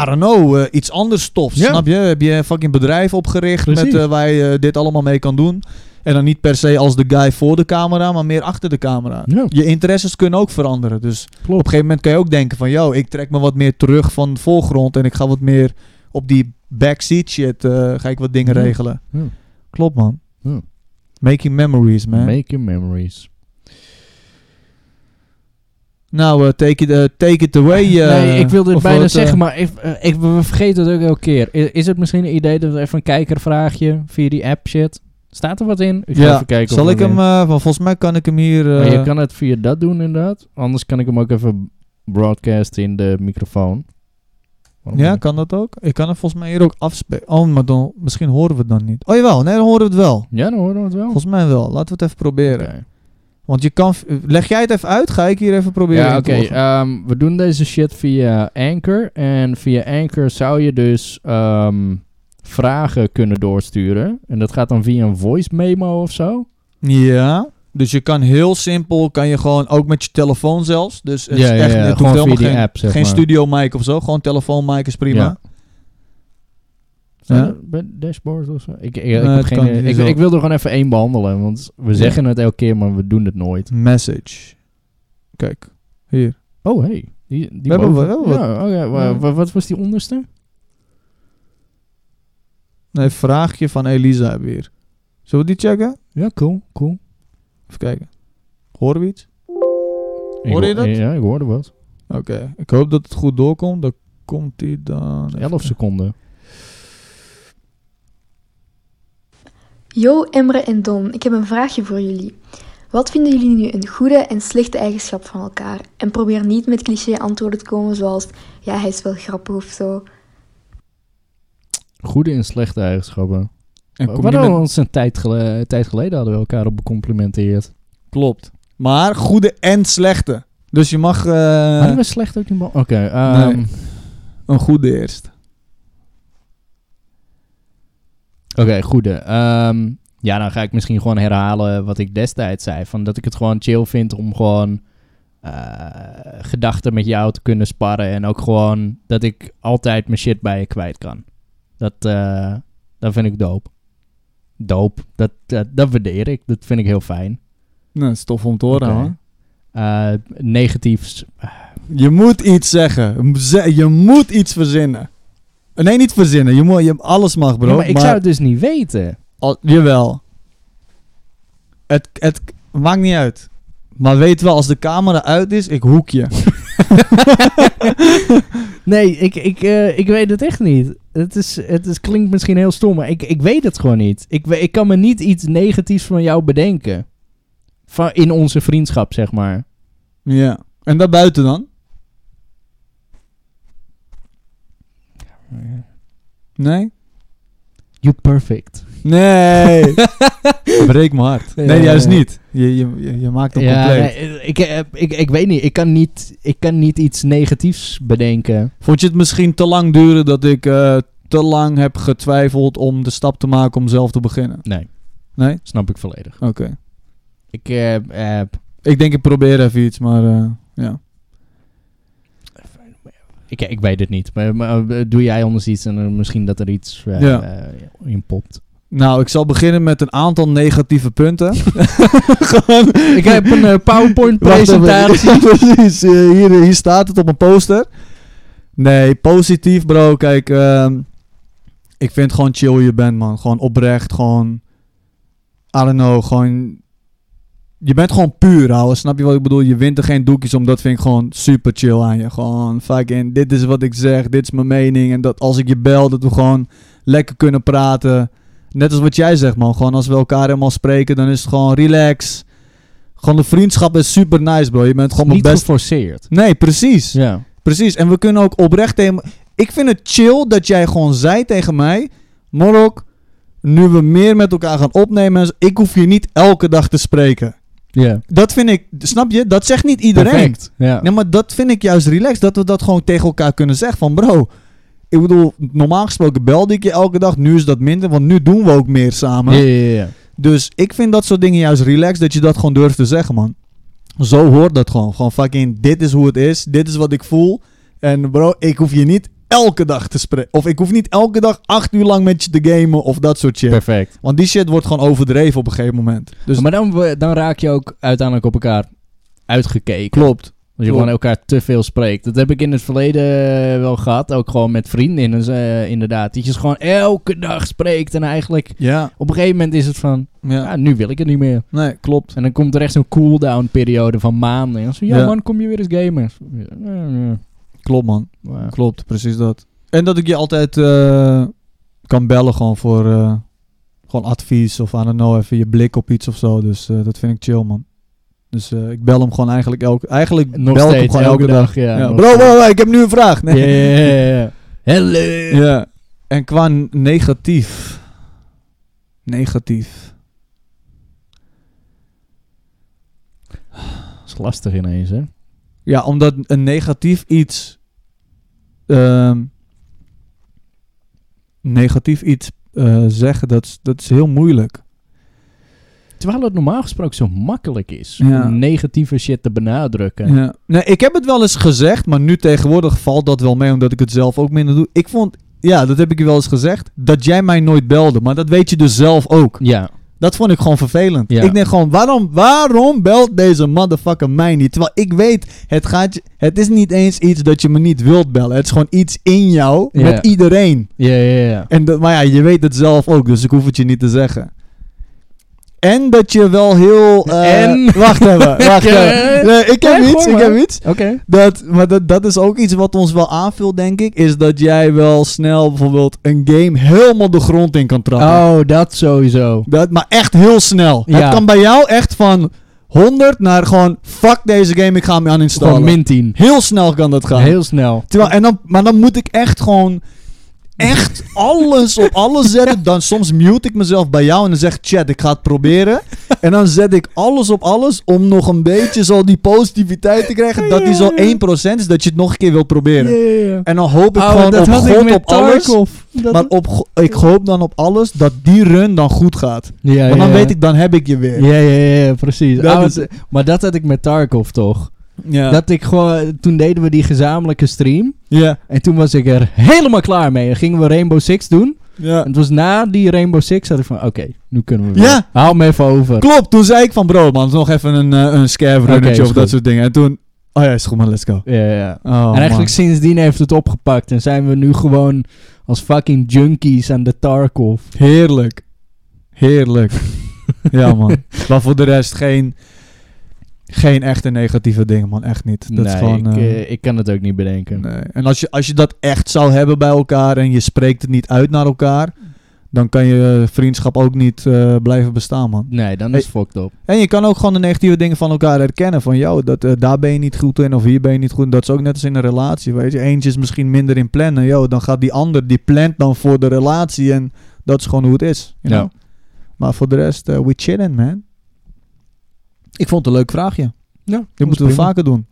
Speaker 1: I don't know, eh, iets anders tofs.
Speaker 2: Ja.
Speaker 1: Snap je? Heb je een fucking bedrijf opgericht... Met,
Speaker 2: Precies.
Speaker 1: eh, ...waar je eh, dit allemaal mee kan doen. En dan niet per se als de guy voor de camera... ...maar meer achter de camera.
Speaker 2: Ja.
Speaker 1: Je interesses kunnen ook veranderen. Dus op een
Speaker 2: Klopt.
Speaker 1: gegeven moment kan je ook denken van... ...joh, ik trek me wat meer terug van de voorgrond... ...en ik ga wat meer op die backseat shit... eh, ...ga ik wat dingen
Speaker 2: Ja.
Speaker 1: regelen.
Speaker 2: Ja.
Speaker 1: Klopt, man.
Speaker 2: Ja.
Speaker 1: Making memories, man.
Speaker 2: Make your memories.
Speaker 1: Nou, eh, take, it, eh, take it away. eh,
Speaker 2: nee, ik wilde het
Speaker 1: of
Speaker 2: bijna
Speaker 1: wat, eh,
Speaker 2: zeggen, maar ik, eh, ik, we vergeten het ook elke keer. I- Is, het misschien een idee dat we even een kijkervraagje via die app shit? Staat er wat in? Ik ga
Speaker 1: ja,
Speaker 2: even kijken. of
Speaker 1: zal
Speaker 2: er
Speaker 1: ik hem...
Speaker 2: wat
Speaker 1: eh, want volgens mij kan ik hem hier...
Speaker 2: in- maar
Speaker 1: eh,
Speaker 2: je kan het via dat doen inderdaad. Anders kan ik hem ook even broadcasten in de microfoon. Waarom
Speaker 1: Ja,
Speaker 2: niet?
Speaker 1: kan dat ook? Ik kan hem volgens mij hier ook afspelen. Oh, maar dan, misschien horen we het dan niet. Oh jawel, nee, dan horen we het wel.
Speaker 2: ja, dan horen we het wel.
Speaker 1: Volgens mij wel. Laten we het even proberen.
Speaker 2: Oké.
Speaker 1: Want je kan... v- Leg jij het even uit? Ga ik hier even proberen
Speaker 2: Ja,
Speaker 1: in
Speaker 2: oké.
Speaker 1: te loggen.
Speaker 2: ehm, we doen deze shit via Anchor. En via Anchor zou je dus ehm, vragen kunnen doorsturen. En dat gaat dan via een voice memo of zo.
Speaker 1: Ja. Dus je kan heel simpel, kan je gewoon ook met je telefoon zelfs. Dus het
Speaker 2: Ja,
Speaker 1: is
Speaker 2: ja,
Speaker 1: echt,
Speaker 2: ja,
Speaker 1: het hoeft
Speaker 2: gewoon via
Speaker 1: helemaal
Speaker 2: die
Speaker 1: geen,
Speaker 2: app, zeg
Speaker 1: geen
Speaker 2: maar.
Speaker 1: studio mic of zo. Gewoon telefoon mic is prima.
Speaker 2: Ja. Zijn
Speaker 1: Ja.
Speaker 2: er bij dashboard of zo? Ik, ik, ik,
Speaker 1: Nee,
Speaker 2: heb
Speaker 1: het
Speaker 2: geen
Speaker 1: kan
Speaker 2: idee.
Speaker 1: niet
Speaker 2: ik,
Speaker 1: zo.
Speaker 2: ik wil er gewoon even één behandelen. Want we
Speaker 1: Ja.
Speaker 2: zeggen het elke keer, maar we doen het nooit.
Speaker 1: Message. Kijk, hier.
Speaker 2: Oh, hey. Die, die
Speaker 1: We hebben
Speaker 2: boven-
Speaker 1: wel wat.
Speaker 2: Ja, oké, wa-
Speaker 1: Ja.
Speaker 2: wa- Wat was die onderste?
Speaker 1: Nee, vraagje van Elisa hebben we hier. Zullen we die checken?
Speaker 2: Ja, cool, cool.
Speaker 1: Even kijken. Horen we iets?
Speaker 2: Ik
Speaker 1: Hoorde je
Speaker 2: ho-
Speaker 1: dat?
Speaker 2: Ja, ik hoorde wat.
Speaker 1: Oké. Ik hoop dat het goed doorkomt. Dan komt die dan... even
Speaker 2: 11
Speaker 1: kijken.
Speaker 2: seconden.
Speaker 5: Yo, Imre en Don, ik heb een vraagje voor jullie. Wat vinden jullie nu een goede en slechte eigenschap van elkaar? En probeer niet met cliché antwoorden te komen zoals ja, hij is wel grappig of zo.
Speaker 2: Goede en slechte eigenschappen.
Speaker 1: En
Speaker 2: Wa-
Speaker 1: kom
Speaker 2: Waarom
Speaker 1: je met-
Speaker 2: ons een tijd, gele- een tijd geleden hadden we elkaar op becomplimenteerd.
Speaker 1: Klopt. Maar goede en slechte. Dus je mag eh,
Speaker 2: hadden we slecht ook niet be- Oké, ehm,
Speaker 1: Nee. een goede eerst.
Speaker 2: oké, goede. Ehm, ja, dan ga ik misschien gewoon herhalen wat ik destijds zei. Van dat ik het gewoon chill vind om gewoon eh, gedachten met jou te kunnen sparren. En ook gewoon dat ik altijd mijn shit bij je kwijt kan. Dat, eh, dat vind ik dope. Dope. Dat, dat, dat waardeer ik. Dat vind ik heel fijn.
Speaker 1: Nou, dat is tof om te horen,
Speaker 2: Oké.
Speaker 1: hoor.
Speaker 2: Eh, negatiefs.
Speaker 1: Je moet iets zeggen. Ze- Je moet iets verzinnen. Nee, niet verzinnen. Je moet, je, alles mag, bro.
Speaker 2: Ja, maar ik zou
Speaker 1: maar-
Speaker 2: het dus niet weten.
Speaker 1: Al, jawel. Het, het maakt niet uit. Maar weet wel, als de camera uit is, ik hoek je.
Speaker 2: Nee, ik, ik, eh, ik weet het echt niet. Het, is, het is, klinkt misschien heel stom, maar ik, ik weet het gewoon niet. Ik, we- ik kan me niet iets negatiefs van jou bedenken. Van, in onze vriendschap, zeg maar.
Speaker 1: Ja. En daarbuiten dan? Nee?
Speaker 2: You're perfect.
Speaker 1: Nee. Breek mijn hart.
Speaker 2: Ja,
Speaker 1: Nee,
Speaker 2: ja,
Speaker 1: juist
Speaker 2: ja.
Speaker 1: niet. Je, je, je- je maakt hem
Speaker 2: Ja,
Speaker 1: compleet.
Speaker 2: nee, ik, eh, ik, ik weet niet. Ik kan niet. Ik kan niet iets negatiefs bedenken.
Speaker 1: Vond je het misschien te lang duren dat ik eh, te lang heb getwijfeld om de stap te maken om zelf te beginnen?
Speaker 2: Nee.
Speaker 1: Nee?
Speaker 2: Snap ik volledig.
Speaker 1: Oké.
Speaker 2: Ik eh, eh,
Speaker 1: Ik denk ik probeer even iets, maar eh, ja.
Speaker 2: ik, ik weet het niet. Maar, maar, eh, doe jij anders iets en dan misschien dat er iets eh,
Speaker 1: Ja.
Speaker 2: eh, in popt.
Speaker 1: Nou, ik zal beginnen met een aantal negatieve punten.
Speaker 2: ik heb een eh, PowerPoint
Speaker 1: Wacht even.
Speaker 2: presentatie.
Speaker 1: Ja, precies. Eh, hier, hier staat het op een poster. Nee, positief bro. Kijk, ehm, ik vind gewoon chill hoe je bent, man. Gewoon oprecht, gewoon... I don't know, gewoon... Je bent gewoon puur, ouwe. Snap je wat ik bedoel? Je wint er geen doekjes om. Dat vind ik gewoon super chill aan je. Gewoon fucking, dit is wat ik zeg. Dit is mijn mening. En dat als ik je bel, dat we gewoon lekker kunnen praten. Net als wat jij zegt, man. Gewoon als we elkaar helemaal spreken, dan is het gewoon relax. Gewoon de vriendschap is super nice, bro. Je bent gewoon mijn
Speaker 2: Niet
Speaker 1: best...
Speaker 2: geforceerd.
Speaker 1: Nee, precies.
Speaker 2: Ja.
Speaker 1: Precies. En we kunnen ook oprecht tegen... Ik vind het chill dat jij gewoon zei tegen mij... Morok, nu we meer met elkaar gaan opnemen... en zo, Ik hoef je niet elke dag te spreken.
Speaker 2: Ja.
Speaker 1: Dat vind ik... Snap je? Dat zegt niet iedereen.
Speaker 2: Perfect. Ja.
Speaker 1: Nee, maar dat vind ik juist relaxed. Dat we dat gewoon tegen elkaar kunnen zeggen. Van bro, ik bedoel, normaal gesproken belde ik je elke dag. Nu is dat minder, want nu doen we ook meer samen.
Speaker 2: Ja, ja, ja, ja.
Speaker 1: Dus ik vind dat soort dingen juist relaxed. Dat je dat gewoon durft te zeggen, man. Zo hoort dat gewoon. Gewoon fucking, dit is hoe het is. Dit is wat ik voel. En bro, ik hoef je niet elke dag te spreken. Of ik hoef niet elke dag acht uur lang met je te gamen. Of dat soort shit.
Speaker 2: Perfect.
Speaker 1: Want die shit wordt gewoon overdreven op een gegeven moment. Dus
Speaker 2: maar dan, we- dan raak je ook uiteindelijk op elkaar uitgekeken.
Speaker 1: klopt.
Speaker 2: Dat je
Speaker 1: Klopt.
Speaker 2: gewoon elkaar te veel spreekt. Dat heb ik in het verleden eh, wel gehad. Ook gewoon met vriendinnen, eh, inderdaad. Dat je ze gewoon elke dag spreekt. En eigenlijk
Speaker 1: Ja,
Speaker 2: op een gegeven moment is het van...
Speaker 1: ja.
Speaker 2: Ja, nu wil ik het niet meer.
Speaker 1: Nee, klopt.
Speaker 2: En dan komt er echt zo'n cooldown periode van maanden. En zo, ja,
Speaker 1: Ja.
Speaker 2: man, kom je weer eens gamen? Ja, ja, ja.
Speaker 1: Klopt, man.
Speaker 2: Maar-
Speaker 1: Klopt, precies dat. En dat ik je altijd eh, kan bellen gewoon voor eh, gewoon advies of I don't know, even je blik op iets of zo. Dus eh, dat vind ik chill, man. Dus eh, ik bel hem gewoon eigenlijk elke... Eigenlijk bel
Speaker 2: Nog
Speaker 1: ik hem
Speaker 2: steeds,
Speaker 1: gewoon elke,
Speaker 2: elke
Speaker 1: dag.
Speaker 2: dag, ja, nog
Speaker 1: bro,
Speaker 2: steeds.
Speaker 1: bro, bro, ik heb nu een vraag.
Speaker 2: Ja,
Speaker 1: Nee.
Speaker 2: ja, ja, ja. Hello.
Speaker 1: Ja. En qua n- negatief. Negatief.
Speaker 2: Dat is lastig ineens, hè?
Speaker 1: Ja, omdat een negatief iets... ehm, negatief iets eh, zeggen, dat, is- dat is heel moeilijk.
Speaker 2: Terwijl het normaal gesproken zo makkelijk is.
Speaker 1: Ja.
Speaker 2: Om negatieve shit te benadrukken.
Speaker 1: Ja. Nee, ik heb het wel eens gezegd, maar nu tegenwoordig valt dat wel mee, omdat ik het zelf ook minder doe. Ik vond, ja, dat heb ik je wel eens gezegd, dat jij mij nooit belde. Maar dat weet je dus zelf ook.
Speaker 2: Ja.
Speaker 1: Dat vond ik gewoon vervelend.
Speaker 2: Ja.
Speaker 1: Ik denk gewoon, waarom, waarom belt deze motherfucker mij niet? Terwijl ik weet, het, gaat, je- het is niet eens iets dat je me niet wilt bellen. Het is gewoon iets in jou,
Speaker 2: Ja.
Speaker 1: met iedereen.
Speaker 2: Ja, ja, ja.
Speaker 1: En dat, maar ja, je weet het zelf ook, dus ik hoef het je niet te zeggen. En dat je wel heel... eh,
Speaker 2: En?
Speaker 1: Wacht even, wacht
Speaker 2: Ja.
Speaker 1: even. Nee, ik heb
Speaker 2: Ja,
Speaker 1: iets,
Speaker 2: gooi
Speaker 1: ik heb
Speaker 2: maar.
Speaker 1: iets.
Speaker 2: Oké.
Speaker 1: Dat, maar dat, dat is ook iets wat ons wel aanvult, denk ik. Is dat jij wel snel bijvoorbeeld een game helemaal de grond in kan trappen.
Speaker 2: Oh, dat sowieso.
Speaker 1: Dat, maar echt heel snel.
Speaker 2: Ja.
Speaker 1: Het kan bij jou echt van 100 naar gewoon fuck deze game, ik ga hem
Speaker 2: Gewoon
Speaker 1: uninstallen.
Speaker 2: min 10.
Speaker 1: heel snel kan dat gaan.
Speaker 2: Heel snel.
Speaker 1: Terwijl, en dan, maar dan moet ik echt gewoon echt alles op alles zetten. Dan soms mute ik mezelf bij jou en dan zeg chat, ik ga het proberen. En dan zet ik alles op alles om nog een beetje zo die positiviteit te krijgen. Dat die zo 1% is dat je het nog een keer wil proberen. En dan hoop ik
Speaker 2: Oh,
Speaker 1: gewoon
Speaker 2: dat
Speaker 1: op
Speaker 2: had ik
Speaker 1: God
Speaker 2: met
Speaker 1: op alles.
Speaker 2: Tarkov. Dat-
Speaker 1: Maar op, go- ik hoop dan op alles dat die run dan goed gaat.
Speaker 2: ja,
Speaker 1: Want dan
Speaker 2: ja.
Speaker 1: weet ik, dan heb ik je weer.
Speaker 2: Ja, ja, ja, ja, precies.
Speaker 1: Dat
Speaker 2: Ah,
Speaker 1: is-
Speaker 2: wat- Maar dat had ik met Tarkov toch.
Speaker 1: Ja.
Speaker 2: Dat ik gewoon, toen deden we die gezamenlijke stream.
Speaker 1: ja.
Speaker 2: En toen was ik er helemaal klaar mee. En gingen we Rainbow Six doen.
Speaker 1: ja.
Speaker 2: En het was na die Rainbow Six dat ik van, oké, nu kunnen we weer.
Speaker 1: Ja.
Speaker 2: Haal me even over.
Speaker 1: Klopt, toen zei ik van bro man, nog even een, eh, een scav
Speaker 2: Oké, is
Speaker 1: runnetje of
Speaker 2: goed.
Speaker 1: dat soort dingen. En toen, oh ja, is goed man, let's go.
Speaker 2: Ja, ja, ja.
Speaker 1: Oh,
Speaker 2: en eigenlijk sindsdien heeft het opgepakt. En zijn we nu gewoon als fucking junkies aan de Tarkov.
Speaker 1: Heerlijk. Heerlijk. ja, man. Maar voor de rest geen, geen echte negatieve dingen, man. Echt niet. Dat is
Speaker 2: nee,
Speaker 1: gewoon...
Speaker 2: ik,
Speaker 1: eh,
Speaker 2: eh, ik kan het ook niet bedenken.
Speaker 1: nee. En als je, als je dat echt zou hebben bij elkaar en je spreekt het niet uit naar elkaar... Dan kan je eh, vriendschap ook niet eh, blijven bestaan, man.
Speaker 2: Nee, dan is
Speaker 1: Hey.
Speaker 2: het fucked up.
Speaker 1: En je kan ook gewoon de negatieve dingen van elkaar herkennen. Van, joh, dat, eh, daar ben je niet goed in of hier ben je niet goed in. Dat is ook net als in een relatie, weet je. Eentje is misschien minder in plannen. Yo, dan gaat die ander, die plant dan voor de relatie. En Dat is gewoon hoe het is. You
Speaker 2: Ja.
Speaker 1: know? Maar voor de rest, eh, we chillen, man. Ik vond het een leuk vraagje.
Speaker 2: Ja,
Speaker 1: Dit moeten we vaker doen.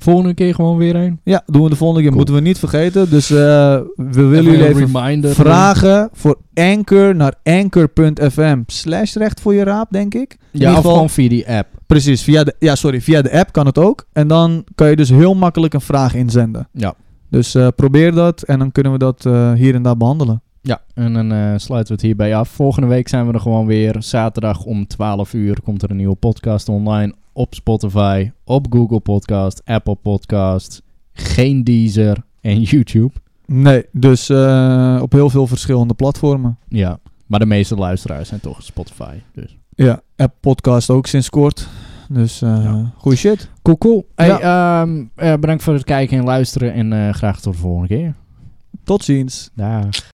Speaker 2: Volgende keer gewoon weer een.
Speaker 1: Ja, doen we de volgende keer.
Speaker 2: Cool.
Speaker 1: Moeten we niet vergeten. Dus eh, we willen jullie even
Speaker 2: reminder.
Speaker 1: vragen voor Anchor naar anchor.fm. Slash recht voor je raap, denk ik. In
Speaker 2: Ja,
Speaker 1: ieder
Speaker 2: of
Speaker 1: geval-
Speaker 2: gewoon via die app.
Speaker 1: Precies, via de, ja, sorry, via de app kan het ook. En dan kan je dus heel makkelijk een vraag inzenden.
Speaker 2: Ja.
Speaker 1: Dus eh, probeer dat en dan kunnen we dat eh, hier en daar behandelen.
Speaker 2: Ja, en dan eh, sluiten we het hierbij af. Volgende week zijn we er gewoon weer. Zaterdag om 12 uur komt er een nieuwe podcast online op Spotify, op Google Podcast, Apple Podcast, geen Deezer en YouTube.
Speaker 1: Nee, dus eh, op heel veel verschillende platformen.
Speaker 2: Ja, maar de meeste luisteraars zijn toch Spotify. Dus.
Speaker 1: Ja, app podcast ook sinds kort. Dus eh
Speaker 2: Ja.
Speaker 1: goeie shit.
Speaker 2: Cool, cool. Hey, ehm, eh, bedankt voor het kijken en luisteren en eh, graag tot de volgende keer.
Speaker 1: Tot ziens.
Speaker 2: Dag.